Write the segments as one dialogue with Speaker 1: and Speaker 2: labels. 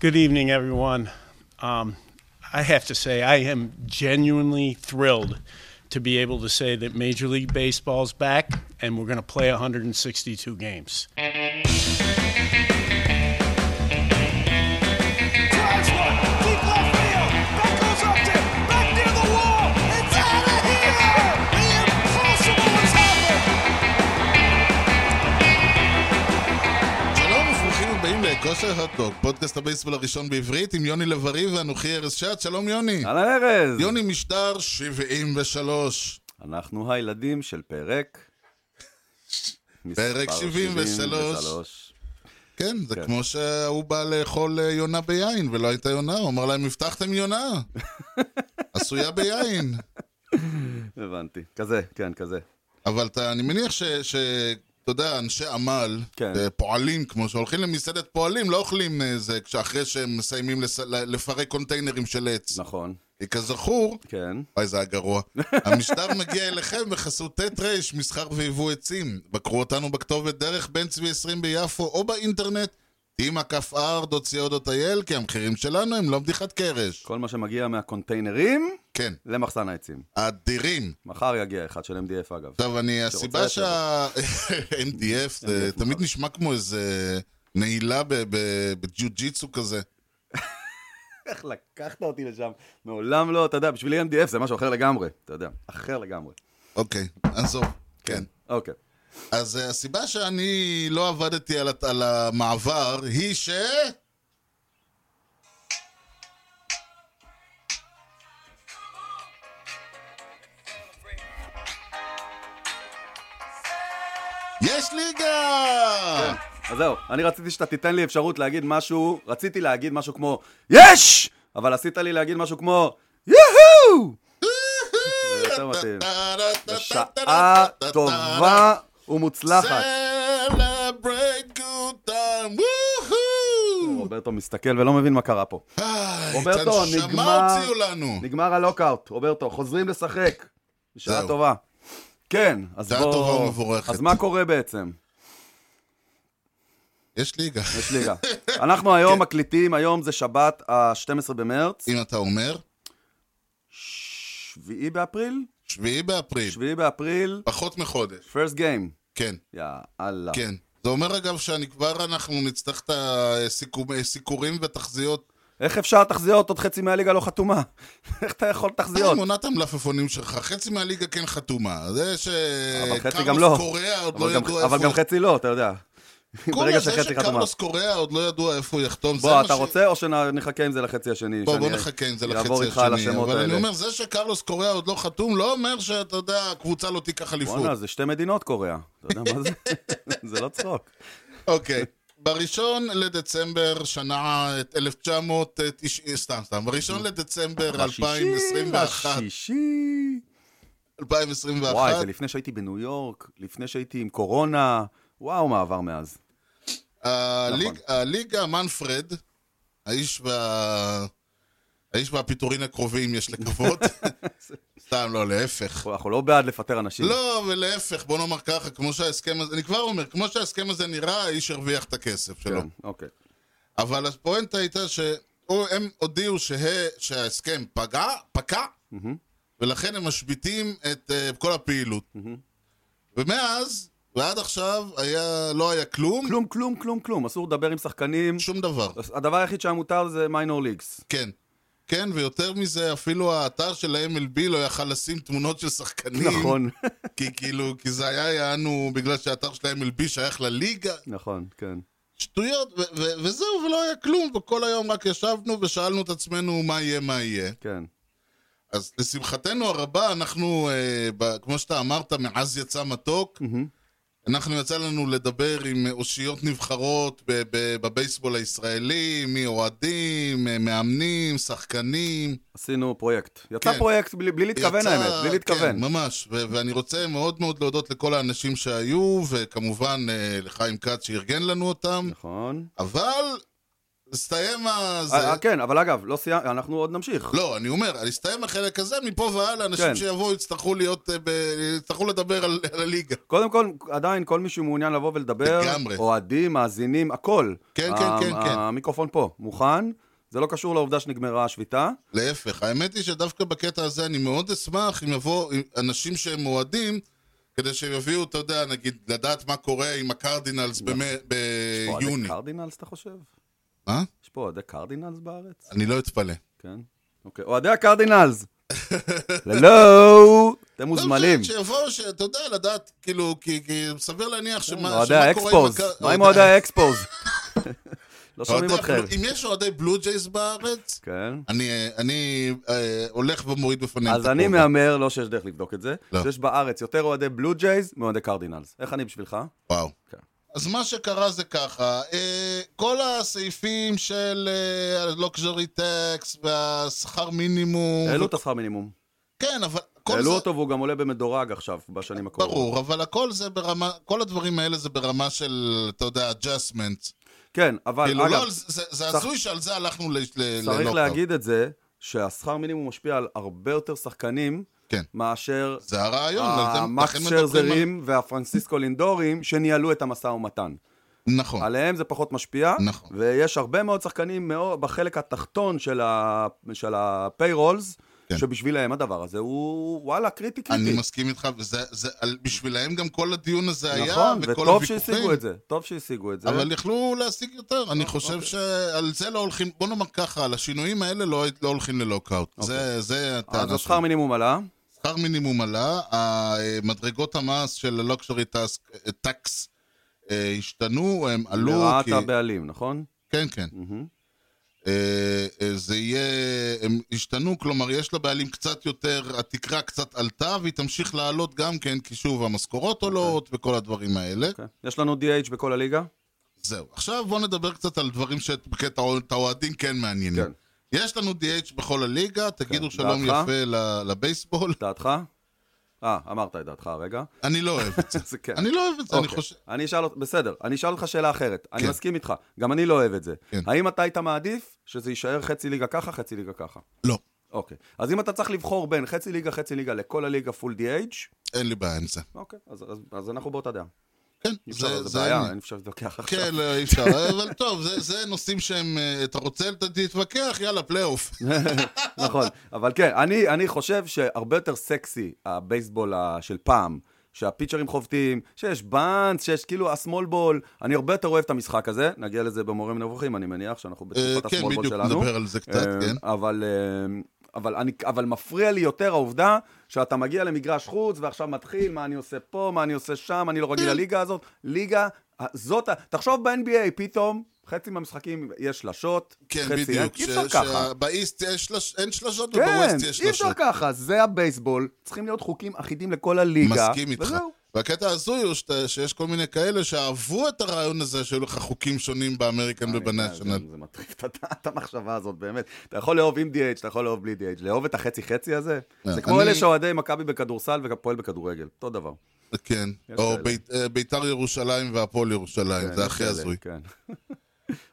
Speaker 1: Good evening, everyone. Um, I have to say, I am genuinely thrilled to be able to say that Major League Baseball's back and we're going to play 162 games.
Speaker 2: Drives one, deep left field. That goes up there, back near the wall. It's out of here. The impossible has happened.
Speaker 3: שלום וברוכים הבאים לכושר הטוק, פודקאסט הבייסבול הראשון בעברית עם יוני לב-ארי ואנוכי ארז שעד, שלום יוני.
Speaker 4: אהלן ארז!
Speaker 3: יוני משדר 73,
Speaker 4: אנחנו הילדים של פרק...
Speaker 3: פרק
Speaker 4: מספר
Speaker 3: 73. כן, זה כמו שההוא בא לאכול אה, יונה ביין ולא הייתה יונה, הוא אמר להם הבטחתם יונה, עשויה ביין.
Speaker 4: הבנתי. כזה, כן, כזה.
Speaker 3: אבל אתה, אני מניח ש... ש... אתה יודע, אנשי עמל,
Speaker 4: כן.
Speaker 3: אה, פועלים כמו שהולכים למסעדת פועלים, לא אוכלים איזה, אחרי שהם מסיימים לס... לפרק קונטיינרים של עץ.
Speaker 4: נכון,
Speaker 3: כי כזכור,
Speaker 4: כן.
Speaker 3: וואי, זה היה גרוע. המשטר מגיע אליכם בחסות ט' ר', מסחר ויבוא עצים. בקרו אותנו בכתובת דרך בן צבי 20 ביפו, או באינטרנט, tima.co.il, כי המחירים שלנו הם לא בדיחת קרש.
Speaker 4: כל מה שמגיע מהקונטיינרים
Speaker 3: כן,
Speaker 4: למחסן העצים.
Speaker 3: אדירים.
Speaker 4: מחר יגיע אחד של MDF אגב.
Speaker 3: עכשיו, אני, הסיבה
Speaker 4: יותר.
Speaker 3: שה... MDF, זה
Speaker 4: MDF,
Speaker 3: תמיד נשמע כמו איזה נעילה ב- ב- בג'יוג'יצו כזה.
Speaker 4: איך לקחת אותי לשם? מעולם לא, אתה יודע, בשבילי MDF זה משהו אחר לגמרי. אתה יודע, אחר לגמרי.
Speaker 3: אוקיי, עזוב. כן.
Speaker 4: אוקיי.
Speaker 3: אז אה, הסיבה שאני לא עבדתי על, הת- על המעבר היא ש... יש ליגה!
Speaker 4: אז זהו, אני רציתי שאתה תיתן לי אפשרות להגיד משהו, רציתי להגיד משהו כמו יש! אבל עשית לי להגיד משהו כמו יוהו! זה יותר מתאים. בשעה טובה ומוצלחת.
Speaker 3: Celebrate good time, וואו!
Speaker 4: רוברטו מסתכל ולא מבין מה קרה פה. רוברטו, נגמר-
Speaker 3: הנשמה הוציאו לנו.
Speaker 4: נגמר הלוקאוט, רוברטו, חוזרים לשחק. בשעה
Speaker 3: זהו.
Speaker 4: טובה. כן, אז בואו...
Speaker 3: שעה טובה ומבורכת.
Speaker 4: אז מה קורה בעצם?
Speaker 3: יש ליגה.
Speaker 4: יש ליגה. אנחנו
Speaker 3: כן.
Speaker 4: היום מקליטים, היום זה שבת ה-12 במרץ,
Speaker 3: אם אתה אומר,
Speaker 4: 7 באפריל?
Speaker 3: שביעי באפריל,
Speaker 4: 7 באפריל,
Speaker 3: פחות מחודש,
Speaker 4: first game.
Speaker 3: כן,
Speaker 4: יאללה.
Speaker 3: כן. זה אומר אגב שאני כבר, אנחנו נצטרך את הסיקורים והתחזיות.
Speaker 4: איך אפשר תחזיות? עוד חצי מהליגה לא חתומה. איך אתה יכול תחזיות?
Speaker 3: עם עונת המלפפונים שלך, חצי מהליגה כן חתומה. זה ש...
Speaker 4: אבל חצי גם
Speaker 3: קרלוס
Speaker 4: לא.
Speaker 3: קוריאה אה, עוד
Speaker 4: אבל
Speaker 3: לא
Speaker 4: גם-
Speaker 3: ידעו
Speaker 4: אבל
Speaker 3: איפה...
Speaker 4: גם חצי לא, אתה יודע.
Speaker 3: כל
Speaker 4: ברגע
Speaker 3: זה
Speaker 4: שחצי חתומה.
Speaker 3: שקרלוס קוריאה עוד לא ידוע איפה הוא יחתום. זה
Speaker 4: בוא,
Speaker 3: מה
Speaker 4: אתה
Speaker 3: ש-
Speaker 4: רוצה או שנחכה עם זה לחצי השני?
Speaker 3: בוא,
Speaker 4: שאני
Speaker 3: בוא נחכה עם זה לחצי השני.
Speaker 4: אעבור איתך על השמות
Speaker 3: אבל אני
Speaker 4: האלה.
Speaker 3: אומר, זה שקרלוס קוריאה עוד לא חתום, לא אומר שאתה יודע, הקבוצה לא תיקח אליפות.
Speaker 4: בואנה, זה שתי מדינות קוריאה. אתה יודע מה זה? זה לא צחוק.
Speaker 3: אוקיי. בראשון לדצמבר שנה את 1990, סתם, סתם, בראשון
Speaker 4: אה,
Speaker 3: לדצמבר 2021,
Speaker 4: השישי.
Speaker 3: 2021,
Speaker 4: אה, וואי, זה לפני שהייתי בניו יורק, לפני שהייתי עם קורונה. וואו, מה עבר מאז.
Speaker 3: הליג-
Speaker 4: נכון.
Speaker 3: הליגה מנפרד, האיש וה... האיש והפיטורין הקרובים, יש לקוות. סתם, לא, להפך.
Speaker 4: אנחנו לא בעד לפטר אנשים.
Speaker 3: לא, ולהפך, בוא נאמר ככה, כמו שההסכם הזה, אני כבר אומר, כמו שההסכם הזה נראה, האיש הרוויח את הכסף שלו.
Speaker 4: כן, אוקיי.
Speaker 3: אבל הפואנטה הייתה שהם הודיעו שה... שההסכם פגע, פקע, ולכן הם משביתים את אה, כל הפעילות. ומאז ועד עכשיו היה, לא היה כלום,
Speaker 4: כלום, כלום, כלום, כלום. אסור לדבר עם שחקנים.
Speaker 3: שום דבר.
Speaker 4: הדבר היחיד שהיה מותר זה מיינור ליגס.
Speaker 3: כן. כן, ויותר מזה, אפילו האתר של ה-MLB לא יכל לשים תמונות של שחקנים.
Speaker 4: נכון,
Speaker 3: כי כאילו, כי זה היה יענו בגלל שהאתר של ה-MLB שייך לליגה.
Speaker 4: נכון, כן.
Speaker 3: שטויות, ו- ו- וזהו, ולא היה כלום, וכל היום רק ישבנו ושאלנו את עצמנו מה יהיה, מה יהיה.
Speaker 4: כן.
Speaker 3: אז לשמחתנו הרבה, אנחנו, אה, ב, כמו שאתה אמרת, מעז יצא מתוק. אנחנו יצא לנו לדבר עם אושיות נבחרות ב- ב- בבייסבול הישראלי, מאוהדים, אה, מאמנים, שחקנים.
Speaker 4: עשינו פרויקט. יצא
Speaker 3: כן.
Speaker 4: פרויקט בלי בלי להתכוון,
Speaker 3: יצא-
Speaker 4: האמת. בלי להתכוון.
Speaker 3: כן, ממש. ו- ואני רוצה מאוד מאוד להודות לכל האנשים שהיו, וכמובן אה, לחיים כץ שארגן לנו אותם.
Speaker 4: נכון.
Speaker 3: אבל הסתיים הזה...
Speaker 4: אה, אה, כן, אבל אגב, לא סיימנו, אנחנו עוד נמשיך.
Speaker 3: לא, אני אומר, הסתיים החלק הזה, מפה והלאה,
Speaker 4: כן.
Speaker 3: אנשים שיבואו יצטרכו להיות, אה, ב- יצטרכו לדבר על על הליגה.
Speaker 4: קודם כל, עדיין כל מי שמעוניין לבוא ולדבר,
Speaker 3: לגמרי.
Speaker 4: אוהדים, מאזינים, הכל.
Speaker 3: כן,
Speaker 4: ה-
Speaker 3: כן, כן, כן.
Speaker 4: המיקרופון פה, מוכן. זה לא קשור לעובדה שנגמרה השביתה.
Speaker 3: להפך, האמת היא שדווקא בקטע הזה אני מאוד אשמח אם יבואו אנשים שהם אוהדים, כדי שיביאו, אתה יודע, נגיד, לדעת מה קורה עם הקרדינלס
Speaker 4: נכון.
Speaker 3: במא-
Speaker 4: אוהדי
Speaker 3: ביוני.
Speaker 4: קרדינלס, אתה חושב?
Speaker 3: מה?
Speaker 4: יש פה אוהדי קרדינלס בארץ?
Speaker 3: אני לא אתפלא.
Speaker 4: כן. אוקיי, אוהדי הקרדינלס. הלו, אתם מוזמנים.
Speaker 3: לא, ש- שיבואו, ש- אתה יודע, לדעת, כאילו, כי כי סביר להניח שמה שמה
Speaker 4: אוהדי
Speaker 3: קורה עם
Speaker 4: האקספוז.
Speaker 3: הקר-
Speaker 4: מה עם אוהדי האקספוז? לא שומעים
Speaker 3: אוהדי
Speaker 4: אתכם.
Speaker 3: הבלו- אם יש אוהדי בלו ג'ייז בארץ,
Speaker 4: כן.
Speaker 3: אני, אה, אני אה, הולך ומוריד בפניהם
Speaker 4: אז אני
Speaker 3: הכובע.
Speaker 4: מהמר, לא שיש דרך לבדוק את זה,
Speaker 3: לא.
Speaker 4: שיש בארץ יותר אוהדי בלו ג'ייז מאוהדי קרדינלס. איך אני בשבילך?
Speaker 3: וואו.
Speaker 4: כן.
Speaker 3: אז מה שקרה זה ככה, אה, כל הסעיפים של לוקז'רי טקס והשכר מינימום...
Speaker 4: העלו את השכר מינימום.
Speaker 3: כן, אבל כל זה...
Speaker 4: העלו אותו והוא גם עולה במדורג עכשיו, בשנים הקרובות.
Speaker 3: ברור, אבל הכל זה ברמה, כל הדברים האלה זה ברמה של, אתה יודע, adjustment.
Speaker 4: כן, אבל
Speaker 3: כאילו,
Speaker 4: אגב,
Speaker 3: לא, זה- לא, זה זה הזוי שעל זה הלכנו ל- ל- לנוקאוט.
Speaker 4: צריך להגיד את זה, שהשכר מינימום משפיע על הרבה יותר שחקנים,
Speaker 3: כן.
Speaker 4: מאשר
Speaker 3: זה הרעיון, על זה-
Speaker 4: המקס
Speaker 3: לכן מדברים
Speaker 4: שרזרים והפרנסיסקו לינדורים, שניהלו את המשא ומתן.
Speaker 3: על- נכון.
Speaker 4: עליהם זה פחות משפיע,
Speaker 3: נכון.
Speaker 4: ויש הרבה מאוד שחקנים מאוד בחלק התחתון של, ה... של הפיירולס,
Speaker 3: כן.
Speaker 4: שבשבילם הדבר הזה הוא וואלה קריטי קריטי.
Speaker 3: אני מסכים איתך, וזה זה- על- בשבילהם גם כל הדיון הזה היה,
Speaker 4: נכון,
Speaker 3: וכל הוויכוחים.
Speaker 4: וטוב שהשיגו את זה, טוב שהשיגו את זה.
Speaker 3: אבל יכלו להשיג יותר,
Speaker 4: אה,
Speaker 3: אני חושב
Speaker 4: אוקיי.
Speaker 3: שעל זה לא הולכים, בוא נאמר ככה, על השינויים האלה לא לא הולכים ללוקאוט. זה- זה
Speaker 4: אוקיי. אה, אז
Speaker 3: הטענה שלי.
Speaker 4: השכר מינימום עלה,
Speaker 3: שכר מינימום עלה, מדרגות המס של הלוקשרי טקס אה, השתנו, הם עלו,
Speaker 4: לרעת
Speaker 3: כי-
Speaker 4: הבעלים, נכון?
Speaker 3: כן, כן.
Speaker 4: מהמם.
Speaker 3: אה, אה, זה יהיה, הם השתנו, כלומר יש לבעלים קצת יותר, התקרה קצת עלתה והיא תמשיך לעלות גם כן, כי שוב המשכורות
Speaker 4: אוקיי.
Speaker 3: עולות וכל הדברים האלה.
Speaker 4: כן. יש לנו DH בכל הליגה?
Speaker 3: זהו. עכשיו בואו נדבר קצת על דברים שבקטע את האוהדים כן מעניינים.
Speaker 4: כן.
Speaker 3: יש לנו DH בכל הליגה, תגידו
Speaker 4: כן.
Speaker 3: שלום
Speaker 4: דעתך?
Speaker 3: יפה ל- לבייסבול.
Speaker 4: דעתך? אה, אמרת את דעתך רגע.
Speaker 3: אני לא אוהב את זה.
Speaker 4: זה כן.
Speaker 3: אני לא אוהב את זה, אני
Speaker 4: אוקיי.
Speaker 3: חושב...
Speaker 4: אני אשאל אותך, בסדר, אני אשאל אותך שאלה אחרת. אני
Speaker 3: כן.
Speaker 4: מסכים איתך, גם אני לא אוהב את זה.
Speaker 3: כן.
Speaker 4: האם אתה היית מעדיף שזה יישאר חצי ליגה ככה, חצי ליגה ככה?
Speaker 3: לא,
Speaker 4: אוקיי. אז אם אתה צריך לבחור בין חצי ליגה, חצי ליגה לכל הליגה פול DH,
Speaker 3: אין לי בעיה עם זה.
Speaker 4: אוקיי, אז, אז, אז אנחנו באותה דעה.
Speaker 3: כן,
Speaker 4: אי אפשר,
Speaker 3: זה...
Speaker 4: זה,
Speaker 3: זה
Speaker 4: בעיה,
Speaker 3: העניין.
Speaker 4: אין אפשר להתווכח עכשיו.
Speaker 3: כן, לא, אי אפשר, אבל טוב, זה- זה נושאים שהם... אה, אתה רוצה, אתה תתווכח, יאללה, פלייאוף.
Speaker 4: נכון, אבל כן, אני, אני חושב שהרבה יותר סקסי הבייסבול ה- של פעם, שהפיצ'רים חובטים, שיש באנס, שיש כאילו הסמול בול, אני הרבה יותר אוהב את המשחק הזה, נגיע לזה במורים נבוכים, אני מניח שאנחנו
Speaker 3: אה,
Speaker 4: בתקופת
Speaker 3: כן,
Speaker 4: הסמול בול
Speaker 3: בדיוק,
Speaker 4: שלנו.
Speaker 3: נדבר על זה קצת,
Speaker 4: אה,
Speaker 3: כן.
Speaker 4: אבל... אה, אבל, אני, אבל מפריע לי יותר העובדה שאתה מגיע למגרש חוץ ועכשיו מתחיל, מה אני עושה פה, מה אני עושה שם, אני לא רגיל
Speaker 3: אה.
Speaker 4: לליגה הזאת. ליגה, אה, זאת, ה- תחשוב ב-NBA, פתאום חצי מהמשחקים יש שלשות,
Speaker 3: כן,
Speaker 4: חצי אין,
Speaker 3: בדיוק.
Speaker 4: אי אפשר
Speaker 3: ש-
Speaker 4: ככה.
Speaker 3: שבאיסט יש שלוש- אין שלשות
Speaker 4: כן,
Speaker 3: ובווסט יש
Speaker 4: אי אפשר
Speaker 3: שלשות.
Speaker 4: ככה, זה הבייסבול, צריכים להיות חוקים אחידים לכל הליגה.
Speaker 3: מסכים איתך.
Speaker 4: וזהו.
Speaker 3: והקטע ההזוי הוא שת- שיש כל מיני כאלה שאהבו את הרעיון הזה שהיו לך חוקים שונים
Speaker 4: אה,
Speaker 3: באמריקן ובנאשונל.
Speaker 4: זה- זה מטריף את הד- את המחשבה הזאת, באמת. אתה יכול לאהוב עם DH, אתה יכול לאהוב בלי DH, לאהוב את החצי-חצי הזה?
Speaker 3: אה,
Speaker 4: זה כמו
Speaker 3: אני-
Speaker 4: אלה שאוהדי מכבי בכדורסל והפועל בכדורגל, אותו דבר.
Speaker 3: כן,
Speaker 4: יש
Speaker 3: או
Speaker 4: כאלה.
Speaker 3: בית- אה, ביתר ירושלים והפועל ירושלים,
Speaker 4: כן,
Speaker 3: זה
Speaker 4: יש
Speaker 3: הכי
Speaker 4: כאלה,
Speaker 3: הזוי.
Speaker 4: כן.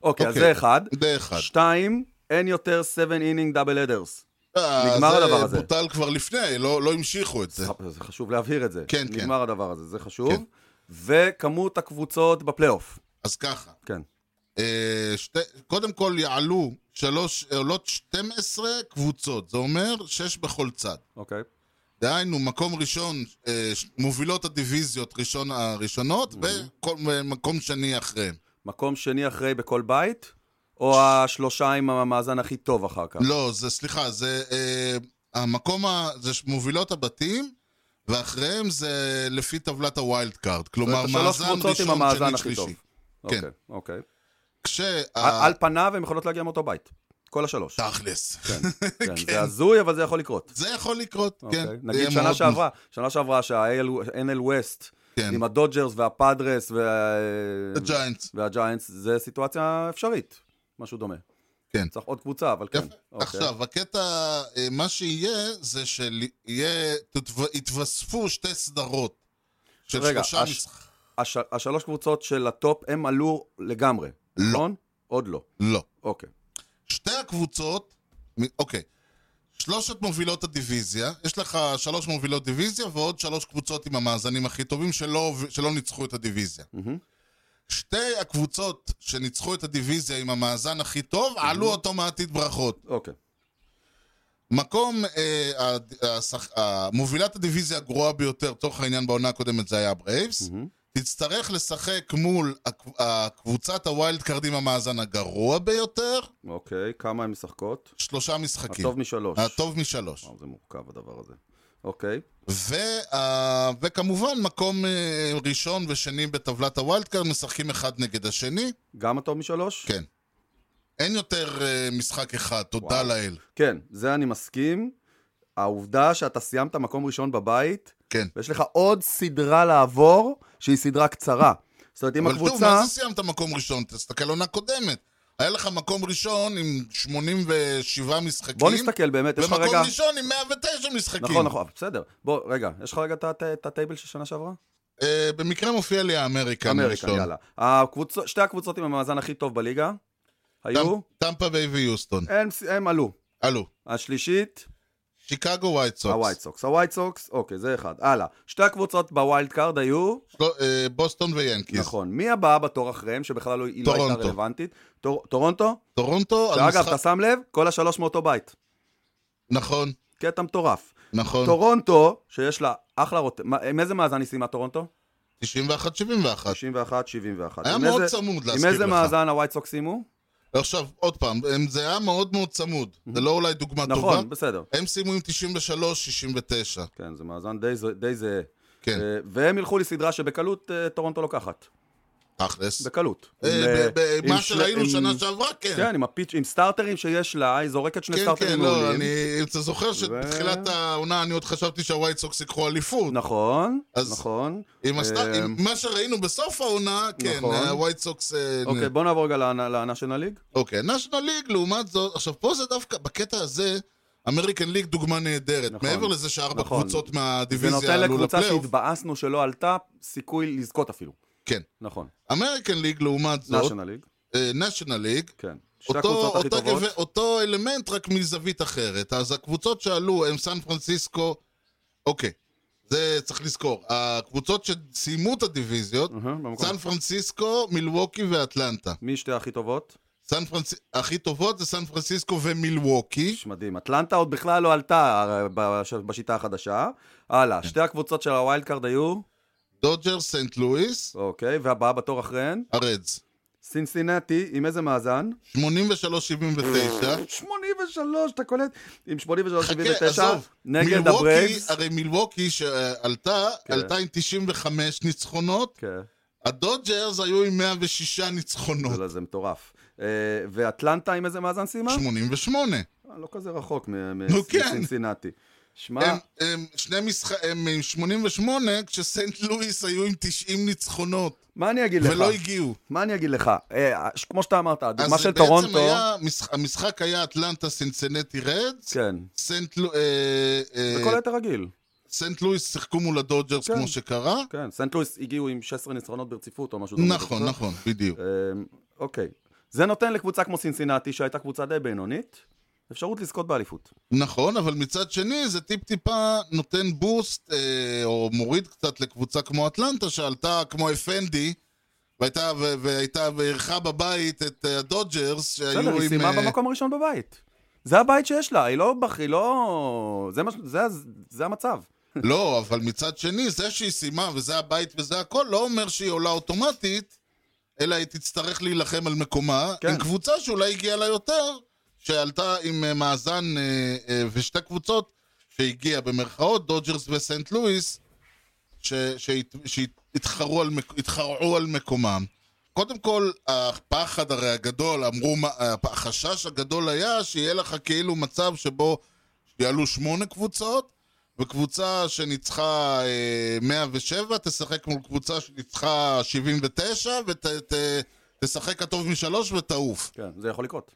Speaker 4: אוקיי,
Speaker 3: אוקיי.
Speaker 4: אז זה אחד.
Speaker 3: זה אחד.
Speaker 4: שתיים, אין יותר 7 אינינג דאבל אדרס.
Speaker 3: אה,
Speaker 4: נגמר
Speaker 3: זה
Speaker 4: הדבר הזה.
Speaker 3: בוטל כבר לפני, לא לא המשיכו את זה.
Speaker 4: אה, זה חשוב להבהיר את זה.
Speaker 3: כן, כן.
Speaker 4: נגמר הדבר הזה, זה חשוב.
Speaker 3: כן.
Speaker 4: וכמות הקבוצות בפלייאוף.
Speaker 3: אז ככה,
Speaker 4: כן.
Speaker 3: אה, שתי- קודם כל יעלו שלוש, אה, עולות 12 קבוצות, זה אומר שש בכל צד.
Speaker 4: אוקיי.
Speaker 3: דהיינו, מקום ראשון, אה, ש- מובילות הדיוויזיות ראשון הראשונות,
Speaker 4: אוקיי.
Speaker 3: ומקום שני אחריהן.
Speaker 4: מקום שני אחרי בכל בית, או השלושה עם המאזן הכי טוב אחר כך?
Speaker 3: לא, זה, סליחה, זה אה, המקום, ה, זה ש- מובילות הבתים, ואחריהם זה לפי טבלת הווילד קארד. כלומר,
Speaker 4: זאת אומרת, השלוש
Speaker 3: מאזן
Speaker 4: קבוצות עם
Speaker 3: לא, ראשון,
Speaker 4: המאזן
Speaker 3: שני,
Speaker 4: הכי
Speaker 3: שלישי.
Speaker 4: טוב.
Speaker 3: כן.
Speaker 4: אוקיי, אוקיי. על על
Speaker 3: כשה...
Speaker 4: פניו הם יכולות להגיע מאותו בית. כל השלוש.
Speaker 3: תכלס.
Speaker 4: כן, זה הזוי, אבל זה יכול לקרות.
Speaker 3: כן, זה יכול לקרות,
Speaker 4: אוקיי.
Speaker 3: כן.
Speaker 4: נגיד
Speaker 3: יהיה
Speaker 4: שנה
Speaker 3: מאוד
Speaker 4: שעברה, שנה שעברה שה-NL West,
Speaker 3: כן.
Speaker 4: עם הדודג'רס והפאדרס וה-
Speaker 3: הג'יינטס.
Speaker 4: והג'יינטס, זה סיטואציה אפשרית. משהו דומה.
Speaker 3: כן.
Speaker 4: צריך עוד קבוצה, אבל כן.
Speaker 3: יפה.
Speaker 4: אוקיי.
Speaker 3: עכשיו, הקטע, אה, מה שיהיה, זה שיתווספו שתי סדרות. של
Speaker 4: רגע,
Speaker 3: שלושה
Speaker 4: הש-
Speaker 3: משחקים.
Speaker 4: הש- השלוש קבוצות של הטופ, הם עלו לגמרי. נכון? עוד לא.
Speaker 3: לא.
Speaker 4: אוקיי.
Speaker 3: שתי הקבוצות, מ- אוקיי, שלושת מובילות הדיוויזיה, יש לך שלוש מובילות דיוויזיה ועוד שלוש קבוצות עם המאזנים הכי טובים שלא, שלא ניצחו את הדיוויזיה. שתי הקבוצות שניצחו את הדיוויזיה עם המאזן הכי טוב, עלו אוטומטית ברכות.
Speaker 4: אוקיי.
Speaker 3: מקום, אה, הד- השח- אה, מובילת הדיוויזיה הגרועה ביותר, תוך העניין בעונה הקודמת זה היה הברייבס, תצטרך לשחק מול הק- הקבוצת הווילד קארד עם המאזן הגרוע ביותר,
Speaker 4: אוקיי, כמה הן משחקות?
Speaker 3: שלושה משחקים.
Speaker 4: הטוב משלוש. אוקיי.
Speaker 3: הטוב משלוש.
Speaker 4: וואו, זה מורכב הדבר הזה. אוקיי.
Speaker 3: וה... אה, וכמובן, מקום אה, ראשון ושני בטבלת הווילד קארד משחקים אחד נגד השני,
Speaker 4: גם הטוב משלוש?
Speaker 3: כן. אין יותר אה, משחק אחד, תודה
Speaker 4: וואו.
Speaker 3: לאל.
Speaker 4: כן, זה אני מסכים. העובדה שאתה סיימת מקום ראשון בבית,
Speaker 3: כן.
Speaker 4: ויש לך עוד סדרה לעבור, שהיא סדרה קצרה. זאת אומרת, אם
Speaker 3: אבל טוב,
Speaker 4: הקבוצה...
Speaker 3: מה זה סיימת מקום ראשון? תסתכל עונה קודמת. היה לך מקום ראשון עם 87 משחקים.
Speaker 4: בוא נסתכל באמת, יש לך
Speaker 3: ומקום
Speaker 4: רגע...
Speaker 3: ראשון עם 109 משחקים.
Speaker 4: נכון, נכון, אבל בסדר. בוא, רגע, יש לך רגע את הט- את הטייבל של שנה שעברה?
Speaker 3: אה, במקרה מופיע לי האמריקן
Speaker 4: אמריקה,
Speaker 3: ראשון.
Speaker 4: יאללה. הקבוצות- שתי הקבוצות עם המאזן הכי טוב בליגה היו,
Speaker 3: טמ- טמפה ביי ויוסטון.
Speaker 4: הם- הם עלו.
Speaker 3: הלו.
Speaker 4: השלישית,
Speaker 3: שיקגו ווייט סוקס.
Speaker 4: הווייט סוקס. הווייט סוקס, אוקיי, זה אחד. הלאה. שתי הקבוצות בווילד קארד היו,
Speaker 3: לא, אה, בוסטון ויאנקיז.
Speaker 4: נכון. מי הבאה בתור אחריהם, שבכלל לא- היא לא הייתה
Speaker 3: טורונטו.
Speaker 4: רלוונטית? טור- טורונטו?
Speaker 3: טורונטו, על
Speaker 4: שאגב,
Speaker 3: משחק-
Speaker 4: אתה שם לב? כל השלוש מאותו בית.
Speaker 3: נכון,
Speaker 4: קטע מטורף.
Speaker 3: נכון.
Speaker 4: טורונטו, שיש לה אחלה רוט... מה- עם איזה מאזן היא סיימה טורונטו?
Speaker 3: 91-71.
Speaker 4: 91, 71.
Speaker 3: היה
Speaker 4: עם
Speaker 3: מאוד
Speaker 4: איזה-
Speaker 3: צמוד,
Speaker 4: עם
Speaker 3: להזכיר
Speaker 4: איזה
Speaker 3: לך.
Speaker 4: מאזן הווייט סוקס סיימו?
Speaker 3: עכשיו, עוד פעם, הם- זה היה מאוד מאוד צמוד. זה לא אולי דוגמה טובה.
Speaker 4: נכון, בסדר.
Speaker 3: הם סיימו עם 93-69.
Speaker 4: כן, זה מאזן די ז- די זהה.
Speaker 3: כן,
Speaker 4: אה, והם ילכו לסדרה שבקלות אה, טורונטו לוקחת. אה,
Speaker 3: תכלס.
Speaker 4: בקלות. עם,
Speaker 3: אה, ב-
Speaker 4: אה,
Speaker 3: ב- מה
Speaker 4: עם של-
Speaker 3: שראינו
Speaker 4: עם-
Speaker 3: שנה שעברה, כן.
Speaker 4: כן, עם הפיץ', עם סטארטרים שיש לה, היא זורקת שני
Speaker 3: כן, כן,
Speaker 4: סטארטרים
Speaker 3: לא,
Speaker 4: מעולים.
Speaker 3: אני, אם אתה זוכר שבתחילת העונה אני עוד חשבתי שהווייט סוקס יקחו אליפות.
Speaker 4: נכון,
Speaker 3: אז-
Speaker 4: נכון.
Speaker 3: עם הסטאר-
Speaker 4: אה,
Speaker 3: עם מה שראינו בסוף העונה, כן,
Speaker 4: נכון.
Speaker 3: הווייט סוקס... אה,
Speaker 4: אוקיי, בוא נעבור רגע לנאשונל ליג.
Speaker 3: אוקיי, national league לעומת זאת, עכשיו פה זה דווקא, בקטע הזה, אמריקן ליג דוגמה נהדרת.
Speaker 4: נכון.
Speaker 3: מעבר לזה שארבע
Speaker 4: נכון.
Speaker 3: קבוצות
Speaker 4: זה
Speaker 3: מהדיוויזיה
Speaker 4: נותן
Speaker 3: עלו
Speaker 4: לקבוצה
Speaker 3: לפלייאוף.
Speaker 4: שהתבאסנו שלא עלתה סיכוי לזכות אפילו.
Speaker 3: כן.
Speaker 4: נכון.
Speaker 3: אמריקן ליג לעומת זאת, אה,
Speaker 4: נאשונל ליג,
Speaker 3: national league,
Speaker 4: כן. שתי
Speaker 3: אותו,
Speaker 4: הקבוצות הכי
Speaker 3: אותו,
Speaker 4: טובות.
Speaker 3: גב... אותו אלמנט רק מזווית אחרת. אז הקבוצות שעלו הם סן פרנסיסקו, אוקיי, זה צריך לזכור. הקבוצות שסיימו את הדיוויזיות,
Speaker 4: אהה, במקום.
Speaker 3: סן פרנסיסקו, מילווקי ואטלנטה.
Speaker 4: מי שתי הכי טובות?
Speaker 3: סן פרנס... הכי טובות זה סן פרנסיסקו ומילווקי.
Speaker 4: איש מדהים. אטלנטה עוד בכלל לא עלתה הרי, בש- בשיטה החדשה.
Speaker 3: כן.
Speaker 4: הלאה, שתי הקבוצות של הווילד קארד היו,
Speaker 3: דודג'ר, סנט לואיס,
Speaker 4: אוקיי, והבאה בתור אחריהן,
Speaker 3: הרדס.
Speaker 4: סינסינטי, עם איזה מאזן?
Speaker 3: 83-79.
Speaker 4: 83, אתה קולט? עם 83,
Speaker 3: חכה,
Speaker 4: 79,
Speaker 3: עזוב.
Speaker 4: נגד
Speaker 3: מילווקי,
Speaker 4: הברייבס.
Speaker 3: הרי מילווקי שעלתה,
Speaker 4: כן.
Speaker 3: עלתה עם 95 ניצחונות.
Speaker 4: כן,
Speaker 3: הדודג'רס היו עם 106 ניצחונות.
Speaker 4: וואלה, זה מטורף. אה, ואטלנטה עם איזה מאזן סיימה?
Speaker 3: 88.
Speaker 4: אה, לא כזה רחוק מ- מ-
Speaker 3: נו, כן.
Speaker 4: מסינסינטי. שמע,
Speaker 3: הם, הם שני משחק... הם עם 88, כשסנט לואיס היו עם 90 ניצחונות,
Speaker 4: מה אני אגיד לך?
Speaker 3: ולא הגיעו.
Speaker 4: מה אני אגיד לך? אה, ש- כמו שאתה אמרת, הדוגמה
Speaker 3: אז
Speaker 4: של
Speaker 3: בעצם
Speaker 4: טורונטו...
Speaker 3: היה, משח- המשחק היה אטלנטה סינצנטי רדס,
Speaker 4: כן.
Speaker 3: סנט לו- אה, אה,
Speaker 4: וכל היתר רגיל.
Speaker 3: סנט לואיס שיחקו מול הדודג'רס
Speaker 4: כן.
Speaker 3: כמו שקרה.
Speaker 4: כן, סנט לואיס הגיעו עם 16 ניצחונות ברציפות או משהו דומה.
Speaker 3: נכון, נכון, בדיוק.
Speaker 4: אמ, אוקיי. זה נותן לקבוצה כמו סינסינטי, שהייתה קבוצה די בינונית, אפשרות לזכות באליפות.
Speaker 3: נכון, אבל מצד שני זה טיפ-טיפה נותן בוסט, אה, או מוריד קצת לקבוצה כמו אטלנטה, שעלתה כמו אפנדי, והייתה, ו- והייתה, ואירחה בבית את אה, הדודג'רס, שהיו עם...
Speaker 4: בסדר, היא סיימה
Speaker 3: אה,
Speaker 4: במקום הראשון בבית. זה הבית שיש לה, היא לא... בח- היא לא... זה מה ש- זה- זה המצב.
Speaker 3: לא, אבל מצד שני, זה שהיא סיימה, וזה הבית וזה הכל, לא אומר שהיא עולה אוטומטית, אלא היא תצטרך להילחם על מקומה,
Speaker 4: כן.
Speaker 3: עם קבוצה שאולי הגיעה לה יותר, שעלתה עם אה, מאזן אה, אה, ושתי קבוצות שהגיעה במרכאות, דודג'רס וסנט לואיס, ש- שהת- שהתחרו על, מק- התחרו על מקומם. קודם כל, הפחד הרי הגדול, אמרו, מה- החשש הגדול היה שיהיה לך כאילו מצב שבו יעלו שמונה קבוצות, וקבוצה שניצחה אה, 107 תשחק מול קבוצה שניצחה 79 ותשחק הטוב משלוש ותעוף.
Speaker 4: כן, זה יכול לקרות.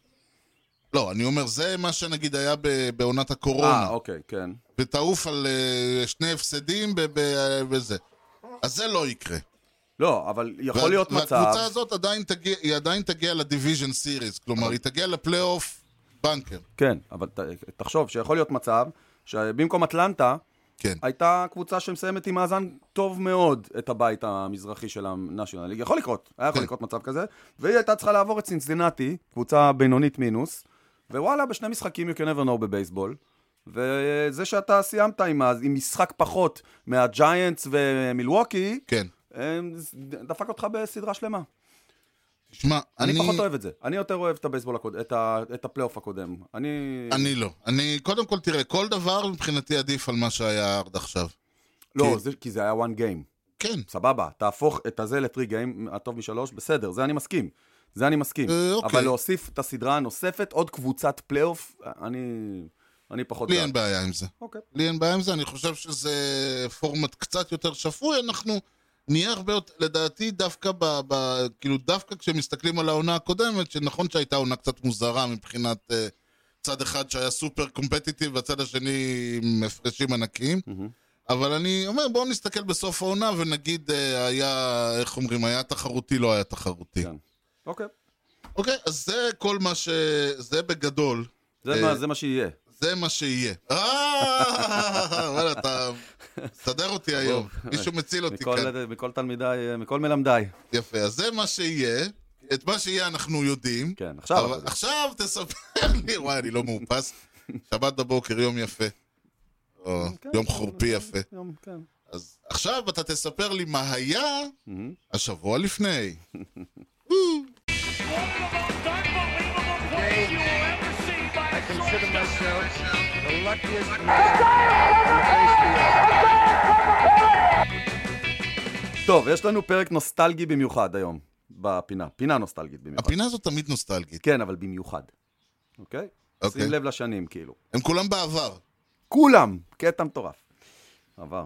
Speaker 3: לא, אני אומר, זה מה שנגיד היה ב- בעונת
Speaker 4: אה,
Speaker 3: הקורונה.
Speaker 4: אוקיי, כן.
Speaker 3: ותעוף על אה, שני הפסדים ב- ב- וזה. אז זה לא יקרה.
Speaker 4: לא, אבל יכול
Speaker 3: וה-
Speaker 4: להיות מצב...
Speaker 3: והקבוצה הזאת עדיין תגיע, היא עדיין תגיע לדיוויז'ן סיריס, כלומר, היא תגיע לפלייאוף בנקר.
Speaker 4: כן, אבל ת, תחשוב שיכול להיות מצב שבמקום אטלנטה,
Speaker 3: כן.
Speaker 4: הייתה קבוצה שמסיימת עם מאזן טוב מאוד את הבית המזרחי של ה-National League. יכול לקרות, היה יכול
Speaker 3: כן.
Speaker 4: לקרות מצב כזה. והיא הייתה צריכה לעבור את סינסטינטי, קבוצה בינונית מינוס, ווואלה, בשני משחקים you can never know בבייסבול. וזה שאתה סיימת עם, ה- עם משחק פחות מהג'יינטס ומילווקי,
Speaker 3: כן.
Speaker 4: אה, דפק אותך בסדרה שלמה.
Speaker 3: תשמע,
Speaker 4: אני,
Speaker 3: אני...
Speaker 4: אני פחות אוהב את זה. אני יותר אוהב את הבייסבול הקודם, את, ה- את הפלייאוף הקודם. אני...
Speaker 3: אני לא. אני, קודם כל, תראה, כל דבר מבחינתי עדיף על מה שהיה עד עכשיו.
Speaker 4: לא,
Speaker 3: כי-
Speaker 4: זה, כי זה היה one game.
Speaker 3: כן.
Speaker 4: סבבה, תהפוך את הזה לטרי גיים, הטוב משלוש, בסדר, זה אני מסכים. זה אני מסכים.
Speaker 3: אה, אוקיי.
Speaker 4: אבל להוסיף את הסדרה הנוספת, עוד קבוצת פלייאוף, אני, אני פחות...
Speaker 3: לי
Speaker 4: בעד.
Speaker 3: אין בעיה עם זה.
Speaker 4: אוקיי.
Speaker 3: לי אין בעיה עם זה, אני חושב שזה פורמט קצת יותר שפוי, אנחנו נהיה הרבה יותר, לדעתי דווקא ב... ב כאילו, דווקא כשמסתכלים על העונה הקודמת, שנכון שהייתה עונה קצת מוזרה מבחינת uh, צד אחד שהיה סופר קומפטיטיב, והצד השני עם הפרשים ענקיים, אבל אני אומר, בואו נסתכל בסוף העונה ונגיד uh, היה, איך אומרים, היה תחרותי, לא היה תחרותי.
Speaker 4: כן. אוקיי.
Speaker 3: אוקיי, אז זה כל מה ש... זה בגדול.
Speaker 4: זה,
Speaker 3: אה,
Speaker 4: מה, זה מה שיהיה.
Speaker 3: זה מה שיהיה. אה, וואלה, אתה מסדר אותי היום. מישהו מציל אותי
Speaker 4: מכל,
Speaker 3: כאן.
Speaker 4: מכל תלמידיי, אה, מכל מלמדיי.
Speaker 3: יפה, אז זה מה שיהיה. את מה שיהיה אנחנו יודעים.
Speaker 4: כן, עכשיו
Speaker 3: אבל-
Speaker 4: אתה יודע.
Speaker 3: עכשיו תספר לי, וואי, אני לא מאופס. שבת בבוקר, יום יפה. או,
Speaker 4: אוקיי.
Speaker 3: יום חורפי יפה.
Speaker 4: יום, כן.
Speaker 3: אז עכשיו אתה תספר לי מה היה השבוע לפני.
Speaker 4: נכון.
Speaker 5: I consider myself the luckiest
Speaker 4: טוב, יש לנו פרק נוסטלגי במיוחד היום, בפינה. פינה נוסטלגית במיוחד.
Speaker 3: הפינה הזאת תמיד נוסטלגית.
Speaker 4: כן, אבל במיוחד. אוקיי?
Speaker 3: אוקיי.
Speaker 4: שים לב לשנים, כאילו.
Speaker 3: הם כולם בעבר.
Speaker 4: כולם, קטע מטורף. עבר.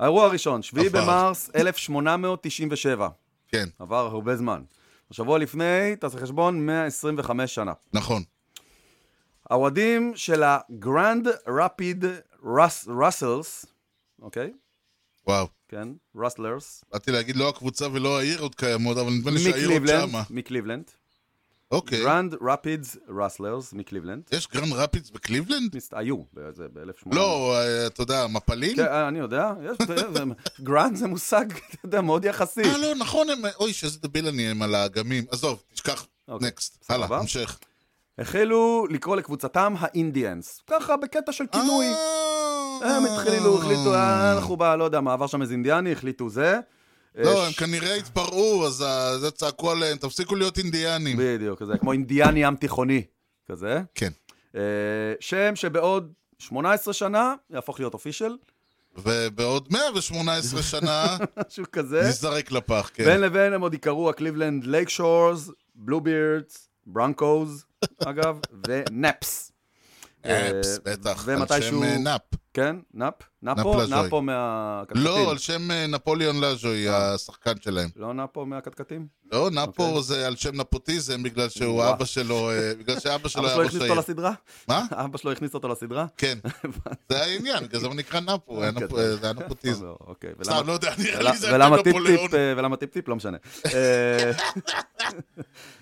Speaker 4: האירוע הראשון, 7
Speaker 3: עבר.
Speaker 4: במרס 1897.
Speaker 3: כן,
Speaker 4: עבר הרבה זמן. השבוע לפני, תעשה חשבון, 125 שנה.
Speaker 3: נכון.
Speaker 4: האוהדים של הגרנד רפיד ראסלס, אוקיי?
Speaker 3: וואו.
Speaker 4: כן, ראסלרס.
Speaker 3: באתי להגיד לא הקבוצה ולא העיר עוד קיימות, אבל נדמה לי שהעיר עוד
Speaker 4: מקליבלנד,
Speaker 3: שמה.
Speaker 4: מקליבלנד.
Speaker 3: אוקיי.
Speaker 4: גרנד רפידס ראסלרס, מקליבלנד.
Speaker 3: יש גרנד רפידס בקליבלנד?
Speaker 4: מס- היו, זה ב-1800.
Speaker 3: לא, אה, אתה יודע, מפלים?
Speaker 4: כן, אני יודע, יש, גרנד זה מושג, אתה יודע, מאוד יחסי.
Speaker 3: אה, לא, נכון, הם... אוי, שאיזה דביל אני הם על האגמים. עזוב, תשכח.
Speaker 4: אוקיי.
Speaker 3: נקסט.
Speaker 4: סבבה.
Speaker 3: הלאה, המשך.
Speaker 4: החלו לקרוא לקבוצתם האינדיאנס. ככה בקטע של כינוי.
Speaker 3: אה,
Speaker 4: הם התחילו, החליטו, אה, אנחנו בא, לא יודע מה, עבר שם איזה אינדיאני, החליטו זה.
Speaker 3: לא,
Speaker 4: אה,
Speaker 3: הם
Speaker 4: ש-
Speaker 3: כנראה התפרעו, אז ה- זה צעקו עליהם, תפסיקו להיות אינדיאנים.
Speaker 4: בדיוק, זה כמו אינדיאני ים תיכוני, כזה.
Speaker 3: כן.
Speaker 4: אה, שם שבעוד 18 שנה יהפוך להיות אופישל,
Speaker 3: ובעוד 118 שנה
Speaker 4: משהו כזה.
Speaker 3: ניזרק לפח, כן.
Speaker 4: בין לבין הם עוד יקראו הקליבלנד לייק שורס, בלובירדס, ברנקוז, אגב, ונאפס.
Speaker 3: אפס, אה, בטח.
Speaker 4: אה, ומתישהו-
Speaker 3: על שם אה, נאפ.
Speaker 4: כן, נאפ? נאפו?
Speaker 3: נאפ לז'וי.
Speaker 4: נאפו מהקטקטים.
Speaker 3: לא, על שם אה, נפוליאון לז'וי,
Speaker 4: אה.
Speaker 3: השחקן שלהם.
Speaker 4: לא נאפו מהקטקטים?
Speaker 3: לא, נפו זה על שם נפוטיזם, בגלל שהוא
Speaker 4: אוקיי. וואו.
Speaker 3: אבא שלו, אה, בגלל שאבא
Speaker 4: אבא
Speaker 3: שלו אה? היה
Speaker 4: שלו
Speaker 3: ראש
Speaker 4: הכניס
Speaker 3: העיר.
Speaker 4: אותו לסדרה?
Speaker 3: מה?
Speaker 4: אבא שלו הכניס אותו לסדרה?
Speaker 3: כן, זה העניין, בגלל זה הוא נקרא נפו, היה
Speaker 4: אוקיי.
Speaker 3: נפו- אה, זה היה נפוטיזם.
Speaker 4: אוקיי, ולמה-
Speaker 3: סתם, לא יודע, נראה לי
Speaker 4: ול-
Speaker 3: זה היה
Speaker 4: ולמה
Speaker 3: נפוליאון.
Speaker 4: טיפ-טיפ, אה, ולמה טיפ-טיפ? לא משנה. אה,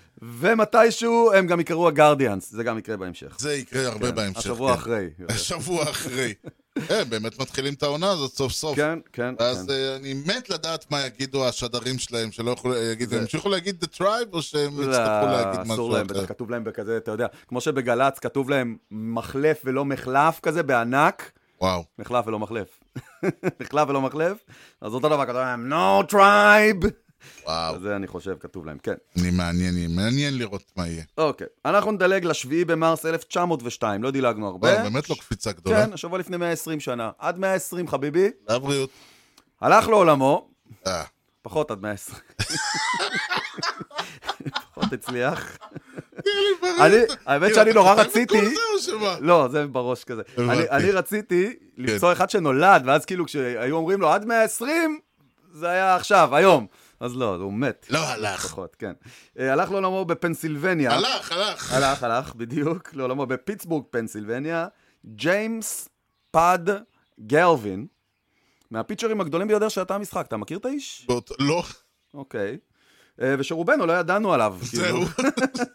Speaker 4: ומתישהו הם גם יקראו הגרדיאנס, זה גם יקרה בהמשך.
Speaker 3: זה יקרה הרבה בהמשך.
Speaker 4: השבוע
Speaker 3: כן.
Speaker 4: אחרי.
Speaker 3: השבוע אחרי. הם באמת מתחילים את העונה הזאת סוף סוף.
Speaker 4: כן, כן,
Speaker 3: אז
Speaker 4: כן.
Speaker 3: אה, אני מת לדעת מה יגידו השדרים שלהם, שלא יוכלו להגיד, הם ימשיכו להגיד The Tribe, או שהם יצטרכו להגיד
Speaker 4: לא, כאילו, אה, אסור
Speaker 3: משהו
Speaker 4: להם,
Speaker 3: אחר.
Speaker 4: בטח כתוב להם בכזה, אתה יודע, כמו שבגל"צ כתוב להם מחלף ולא מחלף כזה, בענק.
Speaker 3: וואו.
Speaker 4: מחלף ולא מחלף. מחלף ולא מחלף, אז אותו דבר כתוב להם, no tribe!
Speaker 3: וואו,
Speaker 4: זה אני חושב כתוב להם, כן.
Speaker 3: אני מעניין, אני- מעניין לראות מה יהיה.
Speaker 4: אוקיי, אנחנו נדלג לשביעי במרס 1902, לא דילגנו הרבה.
Speaker 3: וואו, באמת לא קפיצה גדולה.
Speaker 4: כן, השבוע לפני 120 שנה. עד 120, חביבי,
Speaker 3: לבריאות.
Speaker 4: הלך לעולמו,
Speaker 3: אה,
Speaker 4: פחות עד 120. פחות הצליח. אני- האמת שאני נורא רציתי...
Speaker 3: כל זה או שמה?
Speaker 4: לא, זה בראש כזה.
Speaker 3: הבנתי. כן.
Speaker 4: אני- אני רציתי למצוא אחד שנולד, ואז כאילו כשהיו אומרים לו עד 120, זה היה עכשיו, היום. אז לא, הוא מת.
Speaker 3: לא הלך.
Speaker 4: פחות, כן. אה, הלך לעולמו בפנסילבניה.
Speaker 3: הלך, הלך.
Speaker 4: הלך, הלך, בדיוק, לעולמו בפיטסבורג, פנסילבניה, ג'יימס פאד גלווין, מהפיצ'רים הגדולים ביותר שהיה המשחק, אתה מכיר את האיש?
Speaker 3: באותו- לא,
Speaker 4: אוקיי. אה, ושרובנו לא ידענו עליו. כאילו. כן.
Speaker 3: זהו.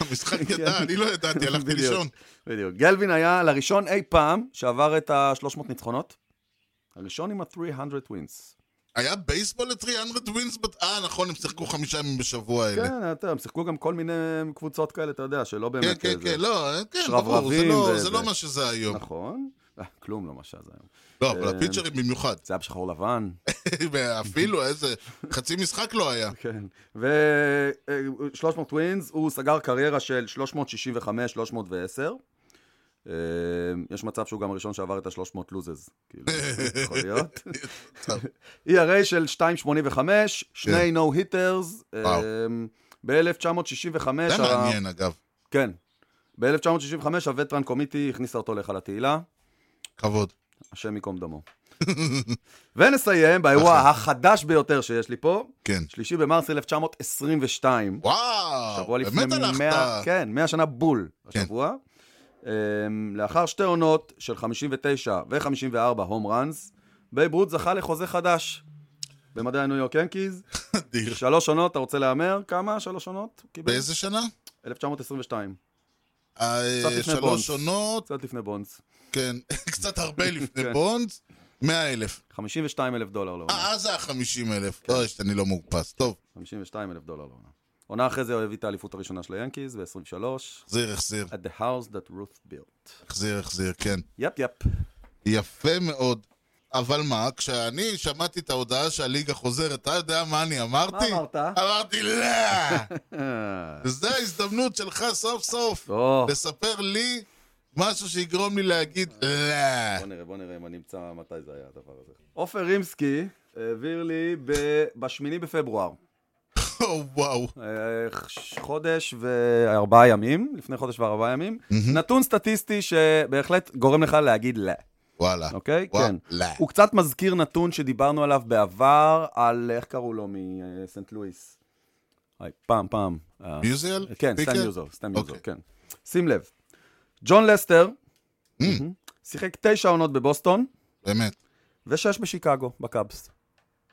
Speaker 3: המשחק ידע, אני לא ידעתי, הלכתי
Speaker 4: בדיוק,
Speaker 3: לישון.
Speaker 4: בדיוק. גלווין היה לראשון אי פעם שעבר את ה-300 ניצחונות. הראשון עם ה-300 ווינס.
Speaker 3: היה בייסבול ל-300 ווינס? בת- אה, נכון, הם שיחקו חמישה ימים בשבוע האלה.
Speaker 4: כן, אתה יודע, הם שיחקו גם כל מיני קבוצות כאלה, אתה יודע, שלא באמת...
Speaker 3: כן, כן,
Speaker 4: זה-
Speaker 3: כן, לא, אה, כן,
Speaker 4: שרברבים
Speaker 3: ברור, זה לא-
Speaker 4: ו-
Speaker 3: זה לא
Speaker 4: ו-
Speaker 3: מה שזה היום.
Speaker 4: נכון. אה, כלום לא מה שהיה זה היום.
Speaker 3: לא, אבל הפיצ'רים במיוחד.
Speaker 4: זה היה בשחור לבן.
Speaker 3: אפילו איזה, חצי משחק לא היה.
Speaker 4: כן. אה, ו-300 ווינס, הוא סגר קריירה של 365-310. אה, יש מצב שהוא גם הראשון שעבר את ה-300 לוזז, כאילו, יכול להיות.
Speaker 3: טוב.
Speaker 4: ERA של 2.85, שני אה,
Speaker 3: כן.
Speaker 4: נו היטרס.
Speaker 3: וואו.
Speaker 4: ב-1965...
Speaker 3: זה מעניין, אגב.
Speaker 4: כן. ב-1965 הווטרן קומיטי הכניסה אותו להיכל התהילה,
Speaker 3: כבוד.
Speaker 4: השם ייקום דמו. ונסיים באירוע
Speaker 3: נכון.
Speaker 4: החדש ביותר שיש לי פה,
Speaker 3: כן.
Speaker 4: שלישי במרס 1922.
Speaker 3: וואו,
Speaker 4: שבוע לפני
Speaker 3: אה, באמת
Speaker 4: 100,
Speaker 3: הלכת.
Speaker 4: כן, 100 שנה בול
Speaker 3: כן.
Speaker 4: השבוע. אמ, לאחר שתי עונות של 59 ו-54 הום ראנס, בייב רות זכה לחוזה חדש במדעי הניו יורק ינקיז.
Speaker 3: אדיר.
Speaker 4: שלוש עונות, אתה רוצה להמר? כמה שלוש עונות? הוא קיבל?
Speaker 3: באיזה שנה?
Speaker 4: 1922,
Speaker 3: אה,
Speaker 4: לפני בונדס.
Speaker 3: שלוש עונות,
Speaker 4: קצת לפני בונדס.
Speaker 3: כן, קצת הרבה לפני
Speaker 4: כן.
Speaker 3: בונדס, 100 אלף.
Speaker 4: 52 אלף דולר לעונה.
Speaker 3: אה, אז זה ה-50 אלף.
Speaker 4: כן.
Speaker 3: אוי, שאני לא מאופס. טוב,
Speaker 4: 52 אלף דולר לעונה. עונה אחרי זה הוא הביא את האליפות הראשונה של היאנקיז ב-23,
Speaker 3: החזיר, החזיר,
Speaker 4: at the house that Ruth built.
Speaker 3: החזיר, החזיר, כן.
Speaker 4: יפ יפ.
Speaker 3: יפה מאוד. אבל מה, כשאני שמעתי את ההודעה שהליגה חוזרת, אתה יודע מה אני אמרתי?
Speaker 4: מה אמרת?
Speaker 3: אמרתי, לא! וזו ההזדמנות שלך סוף סוף
Speaker 4: או.
Speaker 3: לספר לי משהו שיגרום לי להגיד,
Speaker 4: בוא
Speaker 3: לא!
Speaker 4: נראה, בוא נראה אם אני אמצא מתי זה היה הדבר הזה. עופר רימסקי העביר לי ב- בשמיני בפברואר. נכון.
Speaker 3: או, וואו.
Speaker 4: אה, ש- חודש וארבעה ימים, לפני חודש וארבעה ימים. נתון סטטיסטי שבהחלט גורם לך להגיד לא,
Speaker 3: וואלה.
Speaker 4: אוקיי?
Speaker 3: וואלה.
Speaker 4: כן. הוא קצת מזכיר נתון שדיברנו עליו בעבר, על איך קראו לו מסנט לואיס. היי, פעם, פעם. אה,
Speaker 3: מיוזיאל?
Speaker 4: כן, סטן
Speaker 3: פיקר?
Speaker 4: יוזו, סטן יוזו,
Speaker 3: אוקיי.
Speaker 4: כן. שים לב, ג'ון לסטר מהמם, שיחק תשע עונות בבוסטון.
Speaker 3: באמת.
Speaker 4: כן. ושש בשיקגו, בקאבס.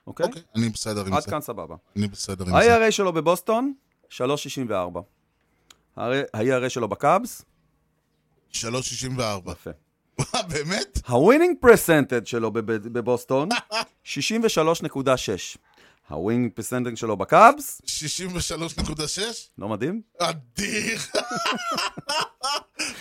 Speaker 4: אוקיי?
Speaker 3: אוקיי, אני בסדר עם
Speaker 4: עד
Speaker 3: זה.
Speaker 4: כאן סבבה.
Speaker 3: אני בסדר עם זה.
Speaker 4: ה-ERA שלו בבוסטון, 3.64. ה-ERA שלו בקאבס,
Speaker 3: 3.64.
Speaker 4: יפה.
Speaker 3: מה, באמת?
Speaker 4: ה-winning percentage שלו בב- בבוסטון, 63.6. ה-winning percentage שלו בקאבס,
Speaker 3: 63.6?
Speaker 4: לא מדהים?
Speaker 3: אדיר!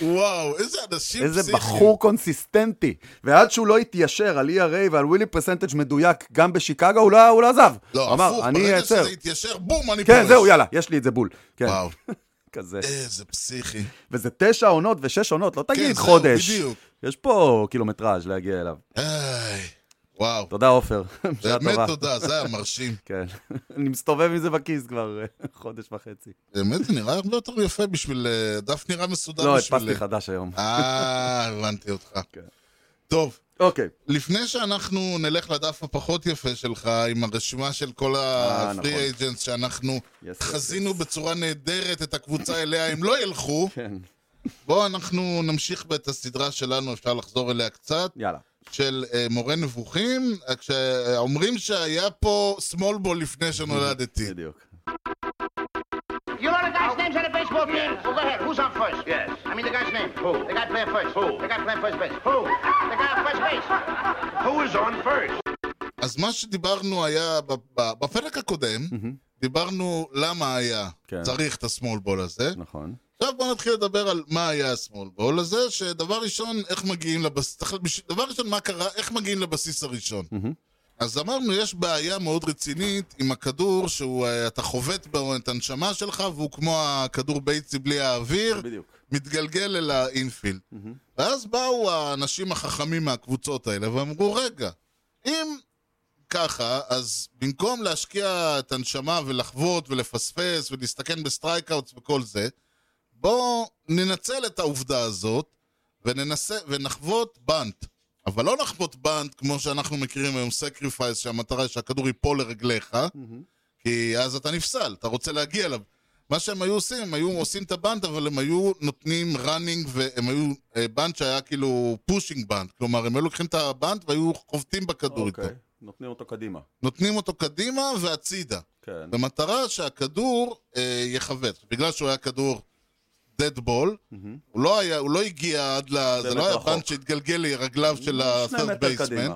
Speaker 3: וואו, איזה אנשים
Speaker 4: איזה
Speaker 3: פסיכיים.
Speaker 4: בחור קונסיסטנטי. ועד שהוא לא התיישר על ERA ועל winning percentage מדויק גם בשיקגו, הוא לא- הוא לא עזב. הוא
Speaker 3: לא,
Speaker 4: אמר,
Speaker 3: הפוך,
Speaker 4: אני
Speaker 3: ברגע
Speaker 4: אעצר.
Speaker 3: שזה התיישר, בום, אני פורש.
Speaker 4: כן, זהו, יאללה, יש לי את זה בול. כן,
Speaker 3: וואו,
Speaker 4: כזה.
Speaker 3: איזה פסיכי.
Speaker 4: וזה תשע עונות ושש עונות, לא תגיד
Speaker 3: כן, זהו,
Speaker 4: חודש.
Speaker 3: בדיוק.
Speaker 4: יש פה קילומטראז' להגיע אליו.
Speaker 3: איי, וואו,
Speaker 4: תודה, עופר. בשעה
Speaker 3: באמת
Speaker 4: טובה.
Speaker 3: תודה, זה היה מרשים.
Speaker 4: כן. אני מסתובב עם זה בכיס כבר אה, חודש וחצי.
Speaker 3: באמת, זה נראה הרבה יותר יפה בשביל... אה, דף נראה מסודר
Speaker 4: לא,
Speaker 3: בשביל...
Speaker 4: הדפסתי חדש היום.
Speaker 3: אה, הבנתי אותך.
Speaker 4: כן.
Speaker 3: טוב,
Speaker 4: אוקיי.
Speaker 3: לפני שאנחנו נלך לדף הפחות יפה שלך, עם הרשימה של כל
Speaker 4: אה,
Speaker 3: ה-free
Speaker 4: נכון.
Speaker 3: agents שאנחנו
Speaker 4: yes,
Speaker 3: חזינו בצורה נהדרת את הקבוצה אליה, הם לא ילכו.
Speaker 4: כן.
Speaker 3: בואו אנחנו נמשיך את הסדרה שלנו, אפשר לחזור אליה קצת,
Speaker 4: יאלה.
Speaker 3: של אה, מורה נבוכים, אה, כשאומרים שהיה פה סמולבול לפני שנולדתי.
Speaker 4: בדיוק.
Speaker 6: You know the guy's names on the baseball team? Well, go ahead. Who's on first? Yes. I mean the guy's name. Who? The guy playing first. Who? The guy playing first base. Who? The guy on first base.
Speaker 5: Who is on first?
Speaker 4: Mm-hmm.
Speaker 3: אז מה שדיברנו היה, ב- ב- בפרק הקודם, דיברנו למה היה
Speaker 4: Mm-hmm. כן.
Speaker 3: צריך את הסמולבול הזה.
Speaker 4: נכון.
Speaker 3: עכשיו בואו נתחיל לדבר על מה היה השמאל בעול הזה, שדבר ראשון, איך מגיעים לבסיס, צריך- בש- דבר ראשון, מה קרה, איך מגיעים לבסיס הראשון. אז אמרנו, יש בעיה מאוד רצינית עם הכדור, שהוא, אה, אתה חובט בו את הנשמה שלך, והוא כמו הכדור ביצי בלי האוויר,
Speaker 4: בדיוק.
Speaker 3: מתגלגל אל האינפילד. ואז באו האנשים החכמים מהקבוצות האלה ואמרו, רגע, אם ככה, אז במקום להשקיע את הנשמה ולחוות ולפספס ולהסתכן בסטרייקאוטס וכל זה, בואו ננצל את העובדה הזאת וננסה, ונחוות בנט. אבל לא נחוות בנט כמו שאנחנו מכירים היום, סקריפייס, שהמטרה היא שהכדור ייפול לרגליך, כי אז אתה נפסל, אתה רוצה להגיע אליו. מה שהם היו עושים, הם היו עושים את הבנט, אבל הם היו נותנים ראנינג, והם היו אה, בנט שהיה כאילו פושינג בנט. כלומר, הם היו לוקחים את הבנט והיו חובטים בכדור איתו.
Speaker 4: אוקיי. נותנים אותו קדימה.
Speaker 3: נותנים אותו קדימה והצידה.
Speaker 4: כן.
Speaker 3: במטרה שהכדור אה, יכווץ. בגלל שהוא היה כדור dead ball, הוא לא היה, הוא לא הגיע עד ל... זה
Speaker 4: באמת
Speaker 3: לא היה
Speaker 4: רחוק.
Speaker 3: פאנץ' שהתגלגל לרגליו של
Speaker 4: שני
Speaker 3: ה-third
Speaker 4: מטר
Speaker 3: baseman.
Speaker 4: קדימה.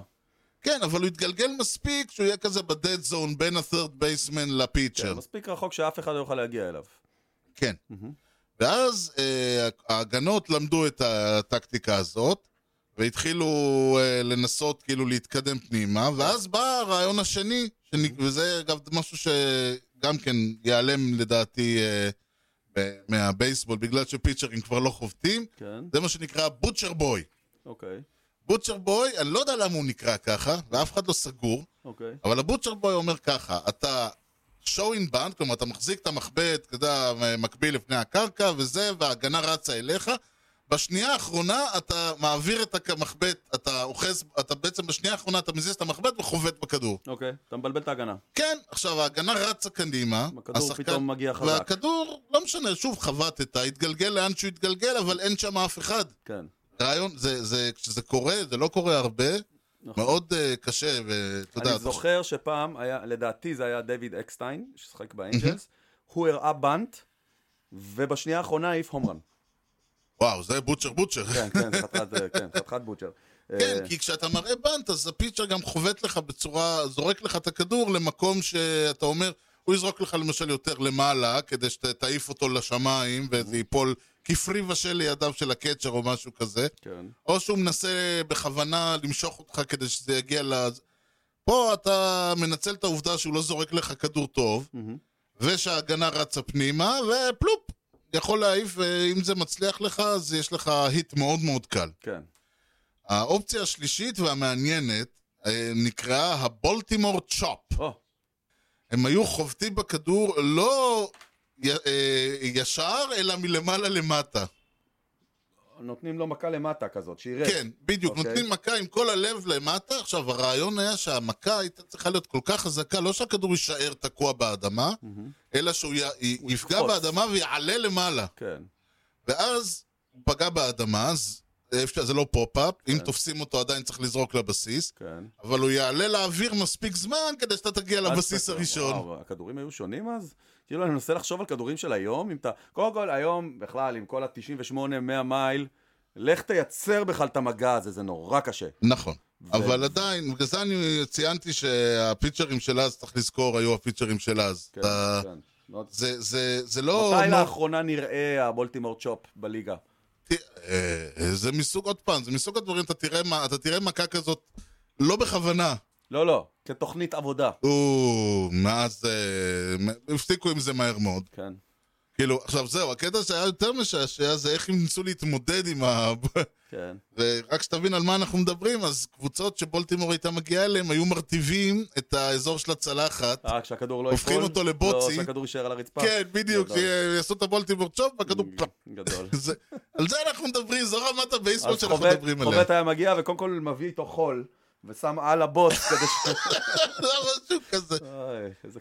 Speaker 3: כן, אבל הוא התגלגל מספיק שהוא יהיה כזה ב-dead zone בין ה-third baseman לפיצ'ר.
Speaker 4: כן, מספיק רחוק שאף אחד לא יוכל להגיע אליו.
Speaker 3: כן. ואז אה, ההגנות למדו את הטקטיקה הזאת, והתחילו אה, לנסות כאילו להתקדם פנימה, ואז בא הרעיון השני, שנ... וזה אגב משהו שגם כן ייעלם לדעתי אה, ב- מהבייסבול, בגלל שפיצ'רים כבר לא חובטים,
Speaker 4: כן,
Speaker 3: זה מה שנקרא בוטשר בוי.
Speaker 4: אוקיי,
Speaker 3: בוטשר בוי, אני לא יודע למה הוא נקרא ככה, ואף אחד לא סגור,
Speaker 4: אוקיי.
Speaker 3: אבל הבוטשר בוי אומר ככה, אתה showing band, כלומר אתה מחזיק את המחבט, אתה יודע, מקביל לפני הקרקע וזה, וההגנה רצה אליך. בשנייה האחרונה אתה מעביר את המחבט, אתה אוחז, אתה בעצם בשנייה האחרונה אתה מזיז את המחבט וחובט בכדור.
Speaker 4: אוקיי, אתה מבלבל את ההגנה.
Speaker 3: כן, עכשיו ההגנה רצה קדימה.
Speaker 4: הכדור פתאום מגיע חזק.
Speaker 3: והכדור, לא משנה, שוב חבטת, התגלגל לאן שהוא התגלגל, אבל אין שם אף אחד.
Speaker 4: כן.
Speaker 3: רעיון, זה, זה, כשזה קורה, זה לא קורה הרבה,
Speaker 4: נכון.
Speaker 3: מאוד אה, קשה, ואתה יודע,
Speaker 4: אני
Speaker 3: אתה-
Speaker 4: זוכר שפעם היה, לדעתי זה היה דיוויד אקסטיין, ששחק באנג'לס, הוא הראה בנט, ובשנייה האחרונה העיף הום רן.
Speaker 3: וואו, זה בוטשר בוטשר.
Speaker 4: כן, כן, זה חתיכת, אה, כן, חתיכת בוטשר. אה,
Speaker 3: כן, כי כשאתה מראה בנט, אז הפיצ'ר גם חובט לך בצורה, זורק לך את הכדור למקום שאתה אומר, הוא יזרוק לך למשל יותר למעלה, כדי שתעיף אותו לשמיים וזה ייפול כפרי ושל לידיו של הקצ'ר או משהו כזה,
Speaker 4: כן.
Speaker 3: או שהוא מנסה בכוונה למשוך אותך כדי שזה יגיע ל... פה אתה מנצל את העובדה שהוא לא זורק לך כדור טוב, ושההגנה רצה פנימה, ופלופ, יכול להעיף, ואם זה מצליח לך, אז יש לך היט מאוד מאוד קל.
Speaker 4: כן.
Speaker 3: האופציה השלישית והמעניינת אה, נקראה הבולטימור צ'ופ.
Speaker 4: או,
Speaker 3: הם היו חובטים בכדור לא י- אה, ישר, אלא מלמעלה למטה.
Speaker 4: נותנים לו מכה למטה כזאת, שיראה.
Speaker 3: כן, בדיוק.
Speaker 4: אוקיי.
Speaker 3: נותנים מכה עם כל הלב למטה. עכשיו, הרעיון היה שהמכה הייתה צריכה להיות כל כך חזקה, לא שהכדור יישאר תקוע באדמה, אלא שהוא י- י- יפגע
Speaker 4: יקפוץ.
Speaker 3: באדמה ויעלה למעלה.
Speaker 4: כן.
Speaker 3: ואז הוא פגע באדמה, אז אפשר- זה לא פופ-אפ, אם תופסים אותו עדיין צריך לזרוק לבסיס.
Speaker 4: כן.
Speaker 3: אבל הוא יעלה לאוויר מספיק זמן כדי שאתה תגיע לבסיס
Speaker 4: אז-
Speaker 3: הראשון.
Speaker 4: וואו, הכדורים היו שונים אז? כאילו, אני מנסה לחשוב על כדורים של היום, אם אתה... קודם כל, היום, בכלל, עם כל ה-98-100 מייל, לך תייצר בכלל את המגע הזה, זה נורא קשה.
Speaker 3: נכון. אבל עדיין, בגלל זה אני ציינתי שהפיצ'רים של אז, צריך לזכור, היו הפיצ'רים של אז.
Speaker 4: כן,
Speaker 3: אתה-
Speaker 4: כן. מאוד-
Speaker 3: זה- זה זה לא...
Speaker 4: מתי
Speaker 3: מה-
Speaker 4: לאחרונה נראה הבולטימור צ'ופ בליגה?
Speaker 3: אה, זה מסוג, עוד פעם, זה מסוג הדברים, אתה תראה מה- אתה תראה מכה כזאת לא בכוונה.
Speaker 4: לא, לא, כתוכנית עבודה.
Speaker 3: או, מאז... אה, מ- הפסיקו עם זה מהר מאוד.
Speaker 4: כן.
Speaker 3: כאילו, עכשיו זהו, הקטע שהיה יותר משעשע זה איך הם ניסו להתמודד עם ה...
Speaker 4: כן,
Speaker 3: ורק שתבין על מה אנחנו מדברים, אז קבוצות שבולטימור הייתה מגיעה אליהם, היו מרטיבים את האזור של הצלחת.
Speaker 4: אה, כשהכדור לא ייפול,
Speaker 3: הופכים אותו לבוצי.
Speaker 4: לא, כשהכדור יישאר על הרצפה.
Speaker 3: כן, בדיוק,
Speaker 4: גדול.
Speaker 3: שיעשו את הבולטימור צ'ופ, והכדור
Speaker 4: אה.
Speaker 3: פלאפ.
Speaker 4: גדול.
Speaker 3: זה- על זה אנחנו מדברים, זו רמת הבייסבול
Speaker 4: אז
Speaker 3: שאנחנו
Speaker 4: חובט-
Speaker 3: מדברים עליה.
Speaker 4: חובט היה מגיע וקודם כל מביא איתו חול, ושם על הבוץ כדי ש...
Speaker 3: זה משהו כזה.
Speaker 4: אוי, איזה...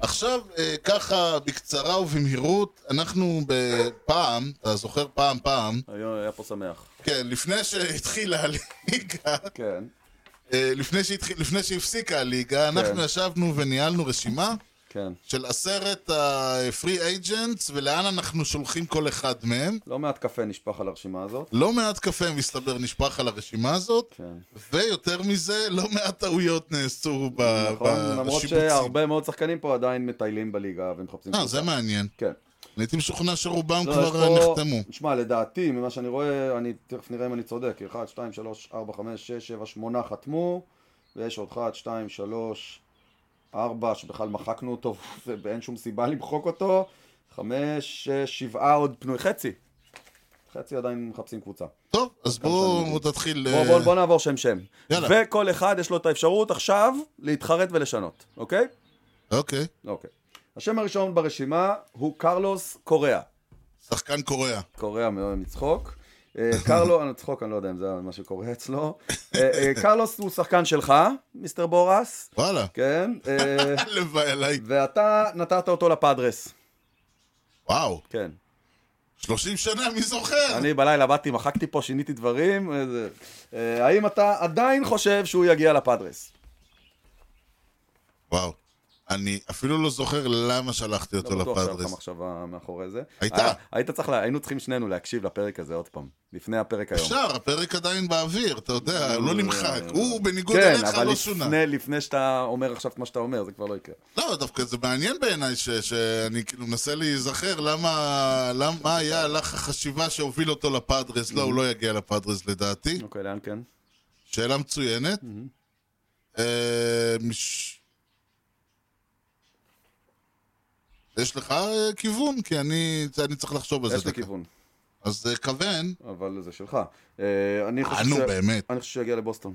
Speaker 3: עכשיו, אה, ככה, בקצרה ובמהירות, אנחנו בפעם, אתה זוכר פעם פעם,
Speaker 4: היום היה פה שמח.
Speaker 3: כן, לפני שהתחילה הליגה,
Speaker 4: כן.
Speaker 3: אה, לפני שהתחיל- לפני שהפסיקה הליגה, אנחנו ישבנו וניהלנו רשימה.
Speaker 4: כן.
Speaker 3: של עשרת ה-free agents ולאן אנחנו שולחים כל אחד מהם.
Speaker 4: לא מעט קפה נשפך על הרשימה הזאת.
Speaker 3: לא מעט קפה, מסתבר, נשפך על הרשימה הזאת,
Speaker 4: כן.
Speaker 3: ויותר מזה, לא מעט טעויות נעשו ב-
Speaker 4: נכון, למרות
Speaker 3: אה, בשיבוצים.
Speaker 4: שהרבה מאוד שחקנים פה עדיין מטיילים בליגה ומחפשים...
Speaker 3: אה, זה
Speaker 4: קבוצה.
Speaker 3: מעניין.
Speaker 4: כן.
Speaker 3: אני הייתי משוכנע שרובם
Speaker 4: לא,
Speaker 3: כבר
Speaker 4: יש פה-
Speaker 3: נחתמו.
Speaker 4: שמע, לדעתי, ממה שאני רואה, אני תכף נראה אם אני צודק. 1, 2, 3, 4, 5, 6, 7, 8 חתמו, ויש עוד 1, 2, 3, 4, שבכלל מחקנו אותו, ואין שום סיבה למחוק אותו. 5, 6, 7 עוד פנוי. חצי. חצי עדיין מחפשים קבוצה.
Speaker 3: טוב, אז בואו תתחיל...
Speaker 4: בוא,
Speaker 3: אה,
Speaker 4: בוא, בוא נעבור שם שם.
Speaker 3: יאללה.
Speaker 4: וכל אחד יש לו את האפשרות עכשיו להתחרט ולשנות, אוקיי?
Speaker 3: אוקיי.
Speaker 4: אוקיי. השם הראשון ברשימה הוא קרלוס קוריאה.
Speaker 3: שחקן קוריאה.
Speaker 4: קוריאה מאוד מצחוק. אה, קרלו, אני צחוק, אני לא יודע אם זה מה שקורה אצלו. אה, אה, קרלוס הוא שחקן שלך, מיסטר בורס,
Speaker 3: וואלה.
Speaker 4: כן? אה,
Speaker 3: הלוואי עליי.
Speaker 4: ואתה נתת אותו לפאדרס,
Speaker 3: וואו,
Speaker 4: כן.
Speaker 3: 30 שנה, מי זוכר?
Speaker 4: אני בלילה באתי, מחקתי פה, שיניתי דברים. אה, זה- אה, האם אתה עדיין חושב שהוא יגיע לפאדרס?
Speaker 3: וואו. אני אפילו לא זוכר למה שלחתי אותו
Speaker 4: לא בטוח שהיה לך
Speaker 3: לפאדרס.
Speaker 4: מחשבה מאחורי זה.
Speaker 3: הייתה.
Speaker 4: היה- היית צריך, לה- היינו צריכים שנינו להקשיב לפרק הזה עוד פעם. לפני הפרק היום. אה,
Speaker 3: אפשר, הפרק עדיין באוויר, אתה יודע, הוא לא נמחק. הוא בניגוד
Speaker 4: כן,
Speaker 3: אליך
Speaker 4: אבל
Speaker 3: לא שונה.
Speaker 4: לפני, לפני שאתה אומר עכשיו את מה שאתה אומר, זה כבר לא יקרה.
Speaker 3: לא, דווקא זה מעניין בעיניי ש- שאני כאילו מנסה להיזכר למה, למה מה היה הלך החשיבה שהוביל אותו לפאדרס. לא, הוא לא יגיע לפאדרס לדעתי.
Speaker 4: אוקיי, לאן כן?
Speaker 3: שאלה מצוינת. אה, מש- יש לך אה, כיוון? כי אני אני צריך לחשוב על זה
Speaker 4: יש לי
Speaker 3: דקה.
Speaker 4: כיוון,
Speaker 3: אז אה, כוון,
Speaker 4: אבל זה שלך. אה, אני חושב
Speaker 3: אה, נו, באמת.
Speaker 4: אני חושב שהוא יגיע לבוסטון.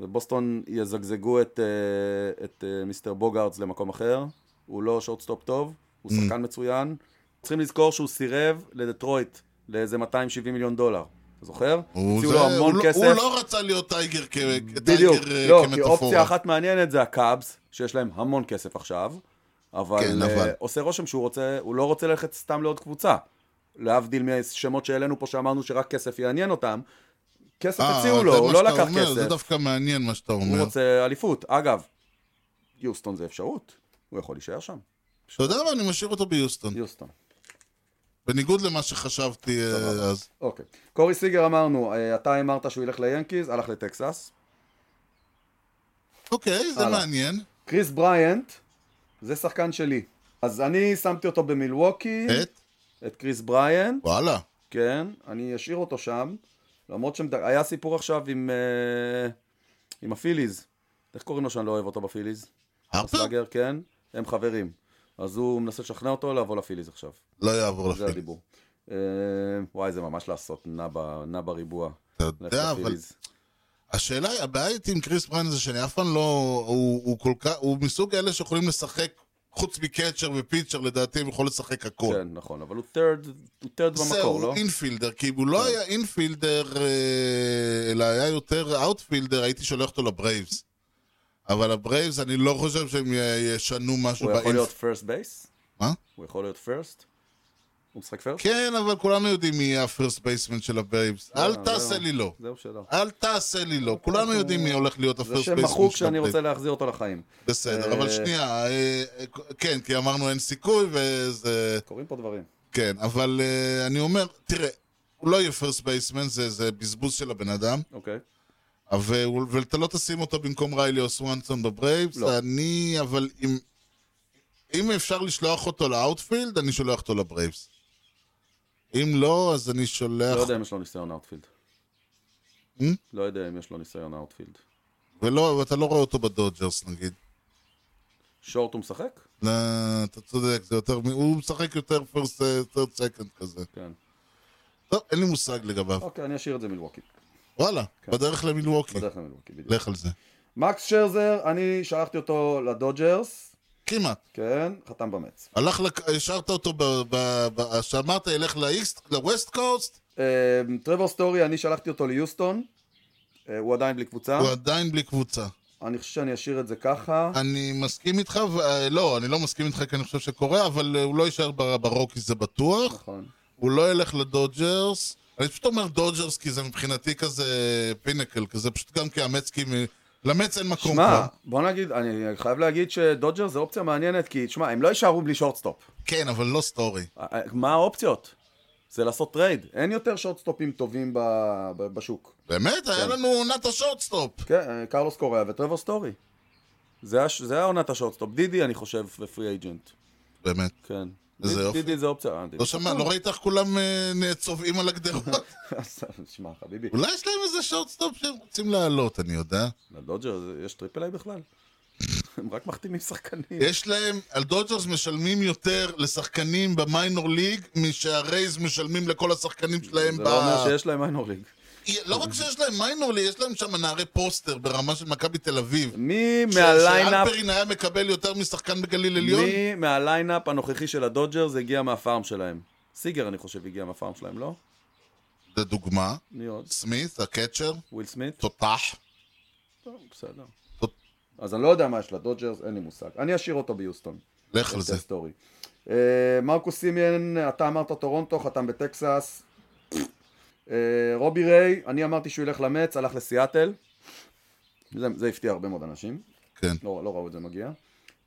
Speaker 4: ובוסטון יזגזגו את, אה, את אה, מיסטר בוגארדס למקום אחר. הוא לא שורטסטופ טוב, הוא
Speaker 3: Mm.
Speaker 4: שחקן מצוין. צריכים לזכור שהוא סירב לדטרויט לאיזה 270 מיליון דולר. אתה זוכר?
Speaker 3: הוא
Speaker 4: הוציאו
Speaker 3: זה-
Speaker 4: לו המון
Speaker 3: הוא לא-
Speaker 4: כסף.
Speaker 3: הוא לא רצה להיות טייגר כ- כטייגר
Speaker 4: בדיוק,
Speaker 3: אה,
Speaker 4: לא, כי אופציה
Speaker 3: כמטאפורה.
Speaker 4: אחת מעניינת זה הקאבס, שיש להם המון כסף עכשיו, אבל,
Speaker 3: כן,
Speaker 4: כן,
Speaker 3: אבל.
Speaker 4: אבל... עושה רושם שהוא רוצה, הוא לא רוצה ללכת סתם לעוד קבוצה. להבדיל מהשמות שהעלינו פה שאמרנו שרק כסף יעניין אותם, כסף
Speaker 3: אה,
Speaker 4: הציעו
Speaker 3: זה
Speaker 4: לו,
Speaker 3: מה
Speaker 4: הוא לא
Speaker 3: שאתה
Speaker 4: לקח
Speaker 3: אומר,
Speaker 4: כסף,
Speaker 3: זה דווקא מעניין מה שאתה
Speaker 4: הוא
Speaker 3: אומר.
Speaker 4: רוצה אליפות. אגב, יוסטון זה אפשרות, הוא יכול להישאר שם,
Speaker 3: אתה יודע מה, אני משאיר אותו ביוסטון.
Speaker 4: יוסטון.
Speaker 3: בניגוד למה שחשבתי אה, אז.
Speaker 4: אוקיי. קורי סיגר אמרנו, אה, אתה אמרת שהוא ילך ליאנקיז, הלך לטקסס.
Speaker 3: אוקיי, זה
Speaker 4: הלאה.
Speaker 3: מעניין.
Speaker 4: קריס בריאנט, זה שחקן שלי. אז אני שמתי אותו במילווקי.
Speaker 3: את?
Speaker 4: את קריס בריאן,
Speaker 3: וואלה.
Speaker 4: כן, אני אשאיר אותו שם, למרות שהיה סיפור עכשיו עם, אה, עם הפיליז, איך קוראים לו שאני לא אוהב אותו בפיליז?
Speaker 3: הרפר?
Speaker 4: סלאגר, כן, הם חברים. אז הוא מנסה לשכנע אותו לבוא לפיליז עכשיו,
Speaker 3: לא יעבור
Speaker 4: זה
Speaker 3: לפיליז.
Speaker 4: הדיבור. אה, וואי, זה ממש לעשות נע, ב, נע בריבוע.
Speaker 3: אתה
Speaker 4: לך
Speaker 3: יודע, אבל
Speaker 4: לפיליז.
Speaker 3: השאלה, הבעיה איתי עם קריס בריין זה שאני אף פעם לא... הוא הוא כל כך... הוא מסוג אלה שיכולים לשחק, חוץ מקצ'ר ופיצ'ר, לדעתי הם יכולים לשחק הכל.
Speaker 4: כן, נכון, אבל הוא טרד, הוא טרד במקור,
Speaker 3: זהו,
Speaker 4: לא? כן.
Speaker 3: הוא אינפילדר, כי אם הוא לא היה אינפילדר, אה, אלא היה יותר אאוטפילדר, הייתי שולח אותו לברייבס. אבל הברייבס, אני לא חושב שהם י- ישנו משהו
Speaker 4: הוא יכול להיות
Speaker 3: באינפילד.
Speaker 4: פרסט בייס?
Speaker 3: מה?
Speaker 4: הוא יכול להיות פרסט? הוא משחק פרסט?
Speaker 3: כן, אבל כולנו יודעים מי יהיה הפרסט בייסמן של הברייבס. אל תעשה לי לא.
Speaker 4: אה, זהו שלא.
Speaker 3: אל תעשה לי לא. כולנו יודעים מי הולך להיות
Speaker 4: זה
Speaker 3: הפרסט
Speaker 4: שם
Speaker 3: בייסמן
Speaker 4: מחוק
Speaker 3: של
Speaker 4: שאני
Speaker 3: הברייבס.
Speaker 4: רוצה להחזיר אותו לחיים.
Speaker 3: בסדר, אבל
Speaker 4: אה,
Speaker 3: שנייה, אה, אה, כן, כי אמרנו אין סיכוי, וזה...
Speaker 4: קורים פה דברים.
Speaker 3: כן, אבל אה, אני אומר, תראה, הוא לא יהיה פרסט בייסמן, זה זה בזבוז של הבן אדם.
Speaker 4: אוקיי.
Speaker 3: אבל- ואתה לא תשים אותו במקום ריילי או סוואנסון בברייבס,
Speaker 4: לא.
Speaker 3: אני, אבל אם... אם אפשר לשלוח אותו לאאוטפילד, אני שולח אותו לברייבס. אם לא, אז אני שולח...
Speaker 4: לא יודע אם יש לו ניסיון אאוטפילד.
Speaker 3: Hmm?
Speaker 4: לא יודע אם יש לו ניסיון אאוטפילד.
Speaker 3: ולא, ואתה לא רואה אותו בדודג'רס, נגיד.
Speaker 4: שורט הוא משחק?
Speaker 3: לא, אתה צודק, זה יותר... מ- הוא משחק יותר פרסט, יותר סקנד כזה.
Speaker 4: כן.
Speaker 3: טוב, אין לי מושג לגביו.
Speaker 4: אוקיי, אני אשאיר את זה מלווקי.
Speaker 3: וואלה, בדרך למילווקי.
Speaker 4: בדרך כלל מלווקי, בדיוק.
Speaker 3: לך על זה.
Speaker 4: מקס שרזר, אני שלחתי אותו לדודג'רס.
Speaker 3: כמעט.
Speaker 4: כן, חתם במץ.
Speaker 3: הלך, לק- השארת אותו, ב- ב- ב- שאמרת, ילך לאיסט- לווסט קוסט,
Speaker 4: אה, טרוור סטורי, אני שלחתי אותו ליוסטון. אה, הוא עדיין בלי קבוצה.
Speaker 3: הוא עדיין בלי קבוצה.
Speaker 4: אני חושב שאני אשאיר את זה ככה.
Speaker 3: אני מסכים איתך, ו... אה, לא, אני לא מסכים איתך כי אני חושב שקורה, אבל אה, הוא לא יישאר ב- ברוקי זה בטוח,
Speaker 4: נכון.
Speaker 3: הוא לא ילך לדודג'רס, אני פשוט אומר דודג'רס כי זה מבחינתי כזה פינקל, כזה פשוט גם כי המץ, כי מ- למץ אין מקום
Speaker 4: שמע,
Speaker 3: כבר.
Speaker 4: בוא נגיד, אני חייב להגיד שדודג'ר זה אופציה מעניינת, כי שמע, הם לא יישארו בלי שורטסטופ.
Speaker 3: כן, אבל לא סטורי.
Speaker 4: אה, מה האופציות? זה לעשות טרייד. אין יותר שורטסטופים טובים ב... ב... בשוק.
Speaker 3: באמת? היה לנו עונת השורטסטופ.
Speaker 4: כן, אה, קרלוס קוריאה וטרוור סטורי. זה היה, זה היה עונת השורטסטופ. דידי, אני חושב, ופרי אייג'נט.
Speaker 3: באמת.
Speaker 4: כן.
Speaker 3: איזה
Speaker 4: דיד-
Speaker 3: יופי.
Speaker 4: דידי זה אופציה. אה, דידי.
Speaker 3: לא שמע, לא ראית איך כולם אה, נ- צובעים על הגדרות?
Speaker 4: שמע, חביבי.
Speaker 3: אולי יש להם איזה שורטסטופ שהם רוצים להעלות, אני יודע.
Speaker 4: לדודג'ר זה- יש טריפל איי בכלל? הם רק מחתימים שחקנים.
Speaker 3: יש להם, על דודג'רס משלמים יותר לשחקנים במיינור ליג משהרייז משלמים לכל השחקנים שלהם
Speaker 4: זה
Speaker 3: ב...
Speaker 4: לא אומר שיש להם מיינור ליג.
Speaker 3: לא רק שיש להם מיינור ליג, יש להם שם נערי פוסטר ברמה של מכבי תל אביב.
Speaker 4: מי
Speaker 3: ש-
Speaker 4: מהליינאפ...
Speaker 3: שאלפרין היה מקבל יותר משחקן בגליל עליון?
Speaker 4: מי מהליינאפ הנוכחי של הדודג'רס הגיע מהפארם שלהם? סיגר, אני חושב, הגיע מהפארם שלהם, לא?
Speaker 3: זה דוגמה.
Speaker 4: מי עוד?
Speaker 3: סמית, הקצ'ר,
Speaker 4: וויל סמית?
Speaker 3: תותח.
Speaker 4: טוב, בסדר.
Speaker 3: טוב.
Speaker 4: אז אני לא יודע מה יש לדודג'רס, אין לי מושג. אני אשאיר אותו ביוסטון.
Speaker 3: לך על זה.
Speaker 4: זה סטורי. מרקוס סימיאן, אתה אמרת טורונטו, חתם בטקסס. אה, רובי ריי, אני אמרתי שהוא ילך למץ, הלך לסיאטל. זה, זה הפתיע הרבה מאוד אנשים.
Speaker 3: כן.
Speaker 4: לא, לא ראו את זה מגיע.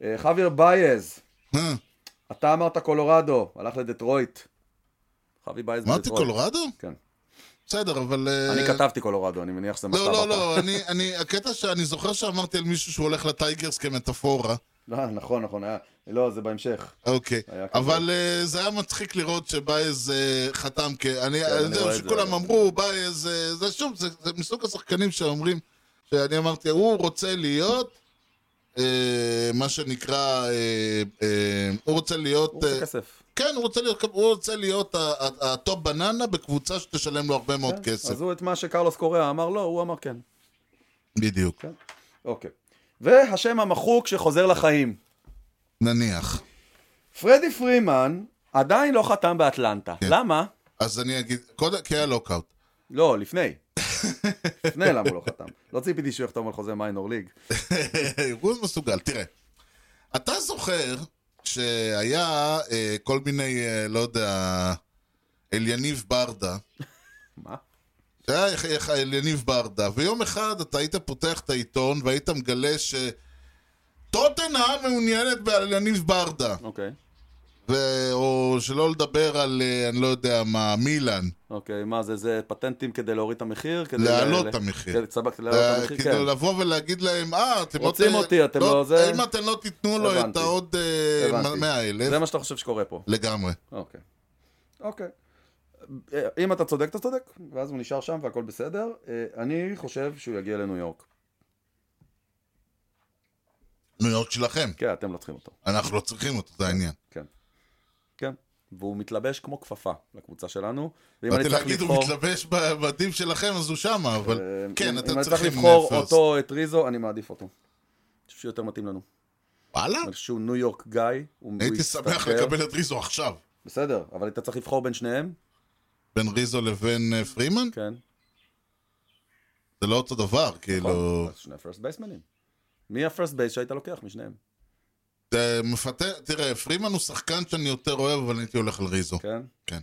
Speaker 4: אה, חוויר בייז,
Speaker 3: אה,
Speaker 4: אתה אמרת קולורדו, הלך לדטרויט. חווי בייז בדטרויט.
Speaker 3: אמרתי קולורדו?
Speaker 4: כן.
Speaker 3: בסדר, אבל... אה,
Speaker 4: אני כתבתי קולורדו, אני מניח שזה מכתב
Speaker 3: לא,
Speaker 4: אתה.
Speaker 3: לא, לא, אני, אני, הקטע שאני זוכר שאמרתי על מישהו שהוא הולך לטייגרס כמטאפורה,
Speaker 4: לא, נכון, נכון, היה... לא, זה בהמשך.
Speaker 3: אוקיי,
Speaker 4: היה כזה.
Speaker 3: אבל אה, זה היה מצחיק לראות שבייז אה, חתם כ... אני,
Speaker 4: כן, אני
Speaker 3: אני
Speaker 4: רואה
Speaker 3: זהו,
Speaker 4: את
Speaker 3: שכולם
Speaker 4: זה.
Speaker 3: אמרו, בייז, אה, זה שוב, זה, זה מסוג השחקנים שאומרים, שאני אמרתי, הוא רוצה להיות, אה, מה שנקרא, אה, אה, הוא רוצה להיות...
Speaker 4: הוא רוצה
Speaker 3: אה,
Speaker 4: כסף.
Speaker 3: כן, הוא רוצה להיות, הוא רוצה להיות ה- ה- הטופ בננה בקבוצה שתשלם לו הרבה מאוד כסף.
Speaker 4: כן, אז הוא את מה שקרלוס קוריאה אמר לא, הוא אמר כן.
Speaker 3: בדיוק.
Speaker 4: אוקיי. והשם המחוק שחוזר לחיים.
Speaker 3: נניח.
Speaker 4: פרדי פרימן עדיין לא חתם באטלנטה.
Speaker 3: כן.
Speaker 4: למה?
Speaker 3: אז אני אגיד, קודם, כי היה לוקאוט.
Speaker 4: לא, לפני. לפני למה הוא לא חתם. לא ציפיתי שהוא יחתום על חוזה מיינור ליג.
Speaker 3: הוא מסוגל, תראה. אתה זוכר שהיה אה, כל מיני, אה, לא יודע, אליניב ברדה.
Speaker 4: מה?
Speaker 3: שהיה איך- איך אליניב ברדה, ויום אחד אתה היית פותח את העיתון והיית מגלה ש... טוטנאם מעוניינת באליניב ברדה.
Speaker 4: אוקיי.
Speaker 3: ו... או שלא לדבר על, אה, אני לא יודע מה, מילאן.
Speaker 4: אוקיי, מה זה, זה פטנטים כדי להוריד את המחיר? כדי
Speaker 3: להעלות
Speaker 4: ל-
Speaker 3: את המחיר.
Speaker 4: כן, סבבה, כדי להעלות את
Speaker 3: אה,
Speaker 4: המחיר, כן.
Speaker 3: כאילו לבוא ולהגיד להם, אה, אתם לא...
Speaker 4: רוצים
Speaker 3: ת-
Speaker 4: אותי, אתם לא זה?"
Speaker 3: אם אתם לא תיתנו לו את
Speaker 4: הבנתי.
Speaker 3: העוד אה,
Speaker 4: הבנתי.
Speaker 3: 100 אלף,
Speaker 4: זה מה שאתה חושב שקורה פה.
Speaker 3: לגמרי.
Speaker 4: אוקיי. אוקיי. אה, אם אתה צודק, אתה צודק, ואז הוא נשאר שם והכל בסדר. אה, אני חושב שהוא יגיע לניו יורק.
Speaker 3: ניו יורק שלכם,
Speaker 4: כן, אתם לא צריכים אותו.
Speaker 3: אנחנו לא צריכים אותו, זה העניין.
Speaker 4: כן. כן. והוא מתלבש כמו כפפה לקבוצה שלנו. ואם אני
Speaker 3: באתי
Speaker 4: צריך
Speaker 3: להגיד,
Speaker 4: לבחור...
Speaker 3: הוא מתלבש במדים שלכם, אז הוא שמה, אבל
Speaker 4: אה,
Speaker 3: כן,
Speaker 4: אם-
Speaker 3: אתם
Speaker 4: אם אני צריך
Speaker 3: צריכים
Speaker 4: לבחור
Speaker 3: first.
Speaker 4: אותו, את ריזו, אני מעדיף אותו. אני חושב שהוא יותר מתאים לנו.
Speaker 3: וואלה?
Speaker 4: אני חושב שהוא ניו יורק גיא. הוא- הוא
Speaker 3: הייתי שמח
Speaker 4: יסתתר.
Speaker 3: לקבל את ריזו עכשיו.
Speaker 4: בסדר, אבל אתה צריך לבחור בין שניהם?
Speaker 3: בין ריזו לבין אה, פרימן?
Speaker 4: כן. נכון?
Speaker 3: זה לא אותו דבר, כאילו...
Speaker 4: אז שני פרסט בייסמנים. מי הפרסט בייס שהיית לוקח משניהם?
Speaker 3: זה מפתה, תראה, פרימן הוא שחקן שאני יותר אוהב, אבל הייתי הולך על ריזו.
Speaker 4: כן?
Speaker 3: כן.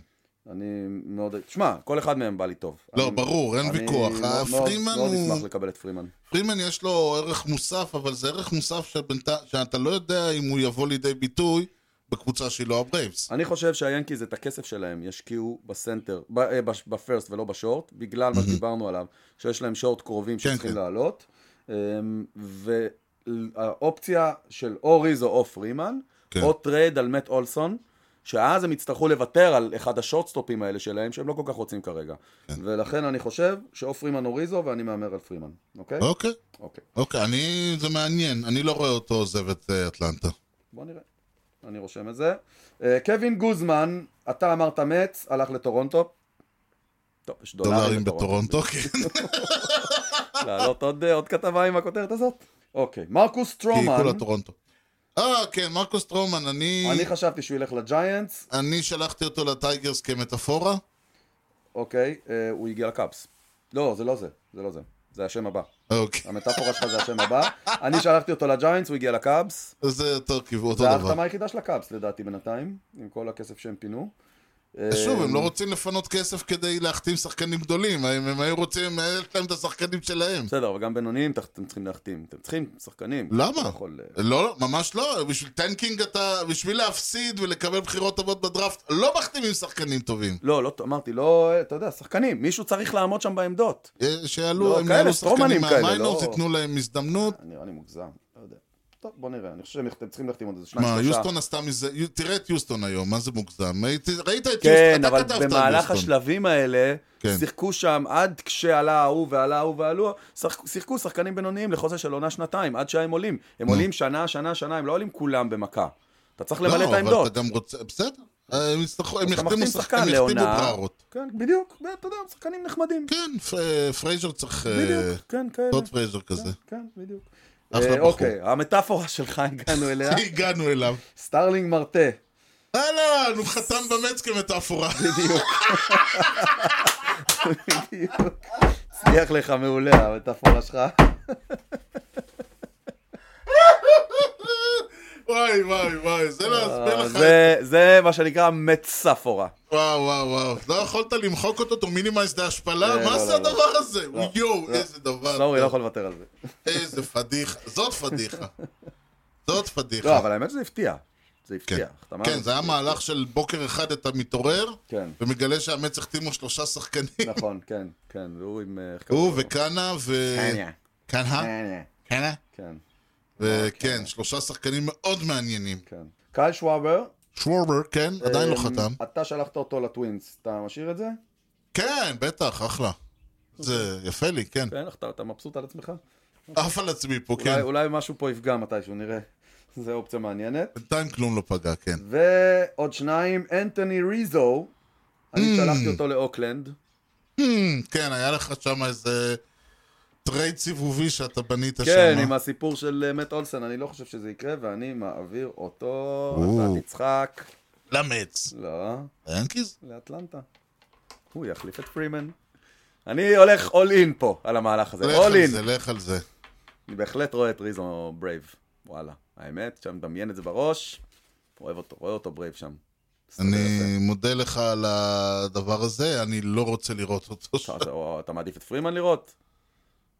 Speaker 4: אני מאוד... תשמע, כל אחד מהם בא לי טוב.
Speaker 3: לא,
Speaker 4: אני-
Speaker 3: ברור, אין
Speaker 4: אני
Speaker 3: ויכוח.
Speaker 4: מאוד-
Speaker 3: הפרימן
Speaker 4: מאוד מאוד
Speaker 3: הוא...
Speaker 4: אשמח לקבל את פרימן.
Speaker 3: פרימן יש לו ערך מוסף, אבל זה ערך מוסף שבינתי- שאתה לא יודע אם הוא יבוא לידי ביטוי בקבוצה שהיא לא הברייבס.
Speaker 4: אני חושב שהיאנקיז את הכסף שלהם ישקיעו בסנטר, ב- אה, בש- בפרסט ולא בשורט, בגלל מה שדיברנו עליו, שיש להם שורט קרובים שצריכים
Speaker 3: כן.
Speaker 4: לעלות. אמ, והאופציה של או ריז או פרימן,
Speaker 3: כן.
Speaker 4: או טרייד על מט אולסון, שאז הם יצטרכו לוותר על אחד השורטסטופים האלה שלהם, שהם לא כל כך רוצים כרגע.
Speaker 3: כן.
Speaker 4: ולכן אני חושב שאו פרימן או ריזו, ואני מהמר על פרימן, אוקיי?
Speaker 3: אוקיי,
Speaker 4: אוקיי.
Speaker 3: אוקיי, אני... זה מעניין, אני לא רואה אותו עוזב את אה, אטלנטה.
Speaker 4: בוא נראה. אני רושם את זה. אה, קווין גוזמן, אתה אמרת מץ, הלך לטורונטו. טוב, יש דולרים
Speaker 3: דולרים
Speaker 4: בטורונטו.
Speaker 3: בטורונטו, כן.
Speaker 4: לעלות עוד, אה, עוד כתבה עם הכותרת הזאת? אוקיי. מרקוס
Speaker 3: כי
Speaker 4: טרומן,
Speaker 3: כולה טורונטו. אה, כן, מרקוס טרומן, אני...
Speaker 4: אני חשבתי שהוא ילך לג'יינטס,
Speaker 3: אני שלחתי אותו לטייגרס כמטאפורה.
Speaker 4: אוקיי, אה, הוא הגיע לקאפס. לא, זה לא זה, זה לא זה. זה השם הבא.
Speaker 3: אוקיי,
Speaker 4: המטאפורה שלך זה השם הבא. אני שלחתי אותו לג'יינטס, הוא הגיע לקאבס.
Speaker 3: זה אותו כיוון, אותו
Speaker 4: זה
Speaker 3: דבר.
Speaker 4: ההחתמה היחידה של הקאבס לדעתי בינתיים, עם כל הכסף שהם פינו.
Speaker 3: שוב, הם לא רוצים לפנות כסף כדי להחתים שחקנים גדולים. הם הם היו רוצים, אה, יש להם את השחקנים שלהם.
Speaker 4: בסדר, אבל גם בינוניים תח- אתם צריכים להחתים. אתם צריכים שחקנים.
Speaker 3: למה?
Speaker 4: אתה יכול, אה,
Speaker 3: לא, ממש לא. בשביל טנקינג אתה, בשביל להפסיד ולקבל בחירות טובות בדראפט, לא מחתימים שחקנים טובים.
Speaker 4: לא, לא, אמרתי, לא, אה, אתה יודע, שחקנים, מישהו צריך לעמוד שם בעמדות.
Speaker 3: אה, שיעלו,
Speaker 4: לא,
Speaker 3: הם
Speaker 4: כאלה,
Speaker 3: יעלו
Speaker 4: סטרומנים
Speaker 3: שחקנים
Speaker 4: כאלה,
Speaker 3: מהמיינורס,
Speaker 4: לא-
Speaker 3: ייתנו להם הזדמנות.
Speaker 4: נראה לי מוגזם, לא יודע. טוב, בוא נראה, אני חושב שהם צריכים להחתים עוד איזה שניים,
Speaker 3: מה,
Speaker 4: שלושה.
Speaker 3: יוסטון עשתה מזה, יו- תראה את יוסטון היום, מה זה מוגזם? ראית ראית את
Speaker 4: כן,
Speaker 3: יוסטון,
Speaker 4: אבל
Speaker 3: אתה כתבת על
Speaker 4: במהלך
Speaker 3: יוסטון.
Speaker 4: השלבים האלה,
Speaker 3: כן.
Speaker 4: שיחקו שם עד כשעלה ההוא ועלה ההוא ועלו, שחק- שיחקו שחקנים בינוניים לחוזה של עונה שנתיים, עד שהם עולים. הם עולים שנה, שנה, שנה, הם לא עולים כולם במכה. אתה צריך למלא את
Speaker 3: לא, אבל
Speaker 4: העמדות.
Speaker 3: אתה גם רוצה, בסדר. הם יצטרכו, הם
Speaker 4: אתה
Speaker 3: יחתימו
Speaker 4: מחתים
Speaker 3: שחקן,
Speaker 4: שחקן
Speaker 3: הם יחתימו
Speaker 4: לעונה.
Speaker 3: ברארות.
Speaker 4: כן, בדיוק, אתה יודע, שחקנים נחמדים.
Speaker 3: כן, פ- פרייזר צריך... אה,
Speaker 4: בדיוק, כן, כאלה.
Speaker 3: טוד פרייזר כזה.
Speaker 4: כן, בדיוק.
Speaker 3: אחלה
Speaker 4: אה,
Speaker 3: בחור.
Speaker 4: אוקיי, המטאפורה שלך, הגענו אליה.
Speaker 3: הגענו אליו.
Speaker 4: סטארלינג מרטה.
Speaker 3: אהלן, הוא חתם במץ כמטאפורה.
Speaker 4: בדיוק. בדיוק. הצליח לך מעולה המטאפורה שלך.
Speaker 3: הוא וואי, וואי, וואי, זה להסביר לך...
Speaker 4: אה, זה- זה מה שנקרא מצפורה.
Speaker 3: וואו, וואו, וואו. לא יכולת למחוק אותו, הוא מינימייז דה השפלה?
Speaker 4: לא,
Speaker 3: מה
Speaker 4: לא,
Speaker 3: זה
Speaker 4: לא.
Speaker 3: הדבר הזה?
Speaker 4: לא,
Speaker 3: יואו,
Speaker 4: לא.
Speaker 3: איזה דבר.
Speaker 4: סורי,
Speaker 3: טוב.
Speaker 4: לא יכול לוותר על זה.
Speaker 3: איזה פדיחה. זאת פדיחה. זאת
Speaker 4: לא,
Speaker 3: פדיחה.
Speaker 4: אבל האמת שזה הפתיע. זה
Speaker 3: כן.
Speaker 4: הפתיע. החתמה-
Speaker 3: כן, זה היה מהלך של בוקר אחד אתה מתעורר,
Speaker 4: כן.
Speaker 3: ומגלה שהמץ החתימו שלושה שחקנים.
Speaker 4: נכון, כן, כן, והוא עם... אה, איך
Speaker 3: הוא אה?
Speaker 4: קראו לו?
Speaker 3: וקאנה ו...
Speaker 4: קניה.
Speaker 3: קאנה?
Speaker 4: קניה.
Speaker 3: קאנה?
Speaker 4: כן,
Speaker 3: וכן, שלושה שחקנים מאוד מעניינים.
Speaker 4: כן. קייל שוואבר.
Speaker 3: שוורבר, כן, עדיין לא
Speaker 4: אמ,
Speaker 3: חתם.
Speaker 4: אתה שלחת אותו לטווינס, אתה משאיר את זה?
Speaker 3: כן, בטח, אחלה. זה יפה לי, כן.
Speaker 4: כן, אתה אתה מבסוט על עצמך?
Speaker 3: עף על עצמי פה, כן.
Speaker 4: אולי- אולי משהו פה יפגע מתישהו, נראה. זו אופציה מעניינת.
Speaker 3: בינתיים כלום לא פגע,
Speaker 4: אמ.
Speaker 3: כן.
Speaker 4: ועוד שניים, אנתוני ריזו. אני
Speaker 3: Mm.
Speaker 4: שלחתי אותו לאוקלנד.
Speaker 3: Hmm, כן, היה לך שם איזה טרייד סיבובי שאתה בנית שם.
Speaker 4: כן, עם הסיפור של אה, מאט אולסן, אני לא חושב שזה יקרה, ואני מעביר אותו, הצעת יצחק,
Speaker 3: למץ.
Speaker 4: לא,
Speaker 3: ינקיז?
Speaker 4: לאטלנטה. הוא יחליף את פרימן. אני הולך אול אין פה, על המהלך הזה,
Speaker 3: לך
Speaker 4: אול
Speaker 3: על
Speaker 4: אין.
Speaker 3: זה, לך על זה.
Speaker 4: אני בהחלט רואה את ריזו ברייב, וואלה. האמת, שאני מדמיין את זה בראש, אוהב אותו, רואה אותו ברייב שם. מסתדר יפה.
Speaker 3: אני מודה לך על הדבר הזה, אני לא רוצה לראות אותו.
Speaker 4: אתה- אתה- או, אתה מעדיף את פרימן לראות?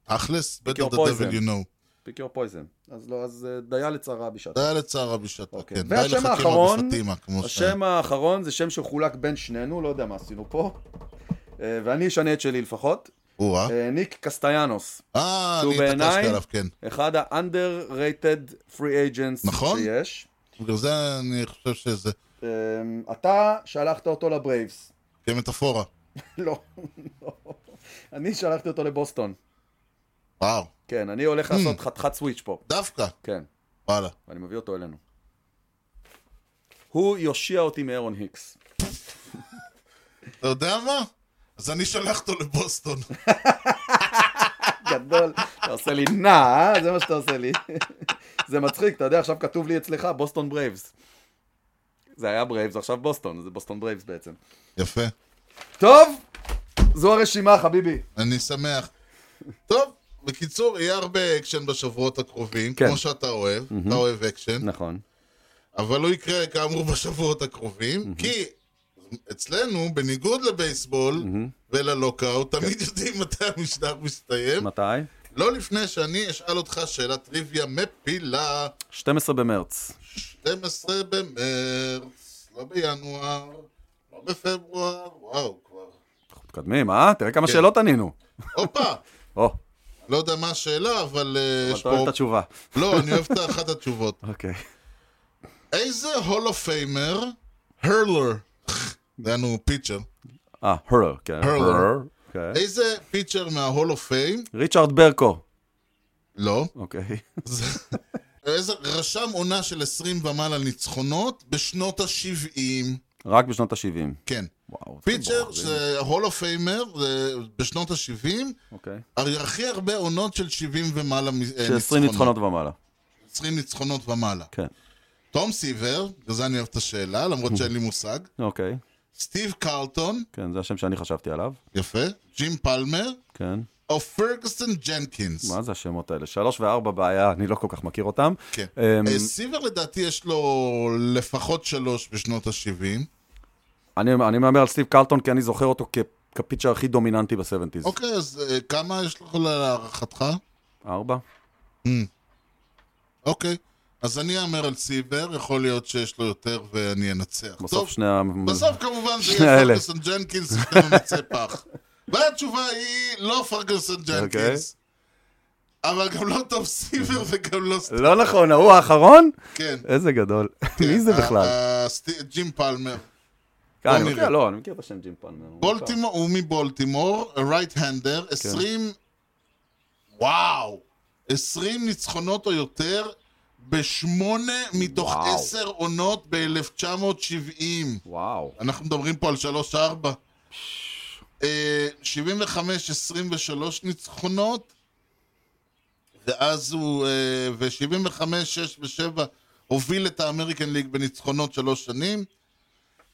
Speaker 3: אכלס, בטח
Speaker 4: your
Speaker 3: the
Speaker 4: poison.
Speaker 3: devil you know.
Speaker 4: פיק יור פויזן. אז לא, אז אה, דיה לצרה בשעתה.
Speaker 3: זה היה לצער הבישתה,
Speaker 4: אוקיי.
Speaker 3: כן.
Speaker 4: והשם
Speaker 3: די לחכם
Speaker 4: האחרון,
Speaker 3: בפטימה, כמו ש...
Speaker 4: השם האחרון זה שם שחולק בין שנינו, לא יודע מה עשינו פה. אה, ואני אשנה את שלי לפחות.
Speaker 3: או-אה.
Speaker 4: אה, ניק קסטיאנוס,
Speaker 3: אה,
Speaker 4: שהוא
Speaker 3: אני התעקשתי
Speaker 4: בעיניי-
Speaker 3: עליו, כן.
Speaker 4: אחד ה-underrated free agents
Speaker 3: נכון.
Speaker 4: שיש.
Speaker 3: בגלל זה אני חושב שזה...
Speaker 4: אה, אתה שלחת אותו לברייבס.
Speaker 3: כמטאפורה.
Speaker 4: לא, לא. אני שלחתי אותו לבוסטון.
Speaker 3: וואו.
Speaker 4: כן, אני הולך
Speaker 3: Hmm.
Speaker 4: לעשות חתיכת סוויץ' פה.
Speaker 3: דווקא.
Speaker 4: כן,
Speaker 3: וואלה.
Speaker 4: ואני מביא אותו אלינו. הוא יושיע אותי מאירון היקס.
Speaker 3: אתה יודע מה? אז אני שלח אותו לבוסטון.
Speaker 4: גדול. אתה עושה לי נע, אה? זה מה שאתה עושה לי. זה מצחיק, אתה יודע, עכשיו כתוב לי אצלך בוסטון ברייבס. זה היה ברייבס, עכשיו בוסטון, זה בוסטון ברייבס בעצם.
Speaker 3: יפה.
Speaker 4: טוב, זו הרשימה, חביבי.
Speaker 3: אני שמח. טוב, בקיצור, יהיה הרבה אקשן בשבועות הקרובים,
Speaker 4: כן.
Speaker 3: כן. כמו שאתה אוהב, אתה אוהב אקשן,
Speaker 4: נכון.
Speaker 3: אבל הוא יקרה כאמור בשבועות הקרובים, כי אצלנו, בניגוד לבייסבול וללוקאוט,
Speaker 4: כן.
Speaker 3: תמיד יודעים מתי המשדר מסתיים.
Speaker 4: מתי?
Speaker 3: לא לפני שאני אשאל אותך שאלת טריוויה מפילה,
Speaker 4: 12 במרץ.
Speaker 3: 12 במרץ, לא בינואר, לא בפברואר, וואו, כבר.
Speaker 4: אנחנו מתקדמים, אה? תראה כמה שאלות ענינו.
Speaker 3: הופה!
Speaker 4: או,
Speaker 3: לא יודע מה השאלה, אבל אה, יש
Speaker 4: אתה אוהב
Speaker 3: פה...
Speaker 4: את התשובה.
Speaker 3: לא, אני אוהב את אחת התשובות.
Speaker 4: אוקיי.
Speaker 3: איזה הולו פיימר, הרלר, דהיינו פיצ'ר,
Speaker 4: אה, הרלר. כן.
Speaker 3: הרלר.
Speaker 4: כן.
Speaker 3: איזה פיצ'ר מההולו פיים,
Speaker 4: ריצ'רד ברקו.
Speaker 3: לא,
Speaker 4: אוקיי.
Speaker 3: זה- איזה רשם עונה של 20 ומעלה ניצחונות בשנות ה-70,
Speaker 4: רק בשנות ה-70.
Speaker 3: כן.
Speaker 4: וואו.
Speaker 3: פיצ'ר
Speaker 4: זה-
Speaker 3: זה הולו פיימר זה בשנות ה-70,
Speaker 4: אוקיי.
Speaker 3: הכי הרבה עונות של 70 ומעלה מ- אה,
Speaker 4: של 20
Speaker 3: ניצחונות.
Speaker 4: ניצחונות ומעלה.
Speaker 3: 20 ניצחונות ומעלה.
Speaker 4: כן.
Speaker 3: תום סיבר, בגלל זה אני אוהב את השאלה, למרות שאין לי מושג.
Speaker 4: אוקיי.
Speaker 3: סטיב קרלטון,
Speaker 4: כן, זה השם שאני חשבתי עליו.
Speaker 3: יפה. ג'ים פלמר,
Speaker 4: כן.
Speaker 3: או פרגוסון ג'נקינס.
Speaker 4: מה זה השמות האלה? שלוש וארבע בעיה, אני לא כל כך מכיר אותם.
Speaker 3: כן.
Speaker 4: אמ,
Speaker 3: אה, סיבר לדעתי יש לו לפחות שלוש בשנות ה-70.
Speaker 4: אני אני מהמר על סטיב קרלטון, כי אני זוכר אותו כ- כפיצ'ר הכי דומיננטי בסבנטיז.
Speaker 3: אוקיי, אז אה, כמה יש לך להערכתך?
Speaker 4: ארבע?
Speaker 3: אוקיי. אז אני אאמר על סיבר, יכול להיות שיש לו יותר ואני אנצח.
Speaker 4: בסוף
Speaker 3: טוב,
Speaker 4: שני ה...
Speaker 3: בסוף כמובן זה
Speaker 4: שני
Speaker 3: יהיה
Speaker 4: האלה.
Speaker 3: פרגוסון ג'נקינס וממצא פח. והתשובה היא לא פרגוסון
Speaker 4: אוקיי.
Speaker 3: ג'נקינס. אבל גם לא טוב סיבר וגם לא סטיב.
Speaker 4: לא נכון, ההוא האחרון?
Speaker 3: כן.
Speaker 4: איזה גדול. מי
Speaker 3: אה,
Speaker 4: זה בכלל?
Speaker 3: ה- ה- סטי- ג'ים פלמר.
Speaker 4: כן, אני
Speaker 3: נראה.
Speaker 4: מכיר, לא, אני מכיר את השם ג'ים פלמר.
Speaker 3: בולטימור, הוא מבולטימור, רייט-הנדר, 20... וואו! 20 ניצחונות או יותר בשמונה מתוך
Speaker 4: וואו.
Speaker 3: עשר עונות ב-1970.
Speaker 4: וואו.
Speaker 3: אנחנו מדברים פה על 3-4. אה, 75, 23 ניצחונות, ואז הוא, אה, ו-75, 6 ו-7 הוביל את האמריקן ליג בניצחונות שלוש שנים.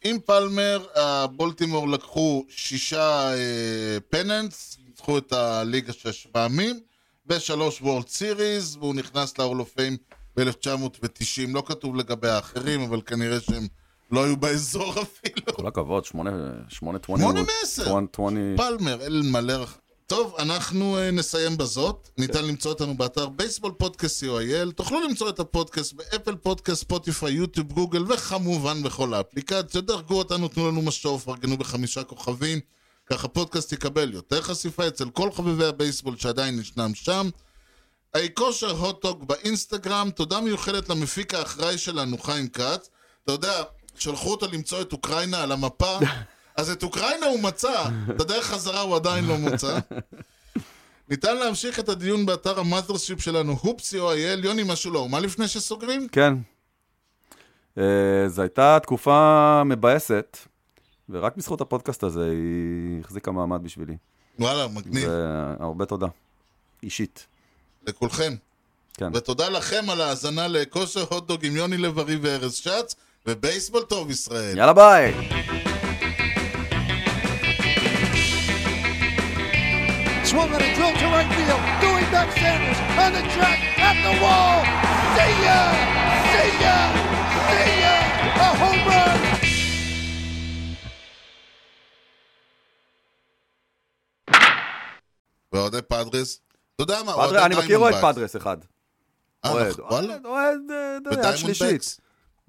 Speaker 3: עם פלמר, הבולטימור לקחו שישה אה, פננס, ניצחו את הליגה שש פעמים, ושלוש וורד סיריז, והוא נכנס ל-Hall of Fame ב-1990, לא כתוב לגבי האחרים, אבל כנראה שהם לא היו באזור אפילו.
Speaker 4: כל הכבוד, שמונה, שמונה טוואני.
Speaker 3: שמונה מעשר.
Speaker 4: טוואני.
Speaker 3: פלמר, אל מלא רח... טוב, אנחנו אה, נסיים בזאת. ניתן למצוא אותנו באתר בייסבול פודקאסט co.il. תוכלו למצוא את הפודקאסט באפל פודקאסט, ספוטיפיי, יוטיוב, גוגל, וכמובן בכל האפליקציות. דרגו אותנו, תנו לנו משוב, פרגנו בחמישה כוכבים. כך הפודקאסט יקבל יותר חשיפה אצל כל חובבי הבייסבול שעדיין ישנם שם. האי כושר הוטדוג באינסטגרם, תודה מיוחדת למפיק האחראי שלנו, חיים כץ. אתה יודע, שלחו אותו למצוא את אוקראינה על המפה, אז את אוקראינה הוא מצא, את הדרך חזרה הוא עדיין לא מוצא. ניתן להמשיך את הדיון באתר המאזרשיפ שלנו, הופסי או אייל, יוני, משהו לא, מה לפני שסוגרים?
Speaker 4: כן. אה, זו הייתה תקופה מבאסת, ורק בזכות הפודקאסט הזה היא החזיקה מעמד בשבילי.
Speaker 3: וואלה, מגניב,
Speaker 4: והרבה תודה. אישית.
Speaker 3: לכולכם.
Speaker 4: כן.
Speaker 3: ותודה לכם על ההאזנה לכושר הוטדוג עם יוני לב-ארי וארז שץ, ובייסבול טוב ישראל.
Speaker 4: יאללה ביי!
Speaker 3: אה,
Speaker 2: Swung on a drill to right field. Doing back Sanders on the track at the wall. See ya! See ya! See ya! A home run!
Speaker 3: ואוהדי פאדרס, אתה יודע מה,
Speaker 4: פאדרס, אני מכיר אוהד פאדרס אחד.
Speaker 3: אה,
Speaker 4: אוהד,
Speaker 3: נכון, וואלה.
Speaker 4: אוהד, אוהד, אה, אתה יודע,
Speaker 3: ודיימונד
Speaker 4: שלישית.
Speaker 3: בקס.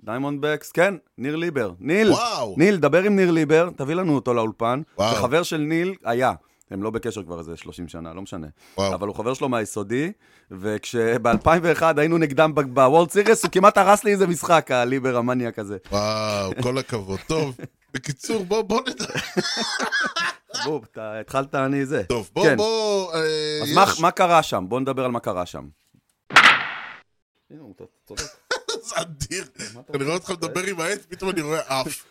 Speaker 4: דיימונד בקס, כן, ניר ליבר. ניל,
Speaker 3: וואו.
Speaker 4: ניל, דבר עם ניר ליבר, תביא לנו אותו לאולפן.
Speaker 3: וואו.
Speaker 4: זה חבר של ניל היה. הם לא בקשר כבר איזה 30 שנה, לא משנה.
Speaker 3: וואו.
Speaker 4: אבל הוא חבר שלו מהיסודי, וכשב-2001 היינו נגדם ב- בוולד סיריס, הוא כמעט הרס לי איזה משחק, הליבר המניאק הזה.
Speaker 3: וואו, כל הכבוד. טוב, בקיצור, בוא, בוא נדע.
Speaker 4: בוב, אתה התחלת, אני זה.
Speaker 3: אה. טוב, בוא,
Speaker 4: כן.
Speaker 3: בוא, אה,
Speaker 4: אז
Speaker 3: יש-
Speaker 4: מה- מה קרה שם? בוא נדבר על מה קרה שם. הנה, הוא צודק.
Speaker 3: זה אדיר. אני רואה אותך מדבר עם העט, פתאום אני רואה אף.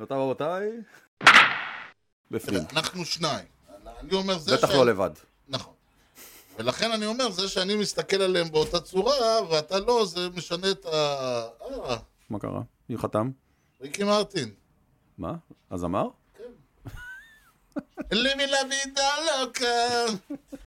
Speaker 4: רבותיי, רבותיי. בפנים.
Speaker 3: אנחנו שניים. אני אומר זה
Speaker 4: כן. בטח
Speaker 3: ש-
Speaker 4: לא לבד.
Speaker 3: נכון. ולכן אני אומר, זה שאני מסתכל עליהם באותה צורה, ואתה לא, זה משנה את ה... אה,
Speaker 4: מה קרה? מי חתם?
Speaker 3: ריקי מרטין.
Speaker 4: מה? הזמר?
Speaker 3: לימי לוידה לא כאן.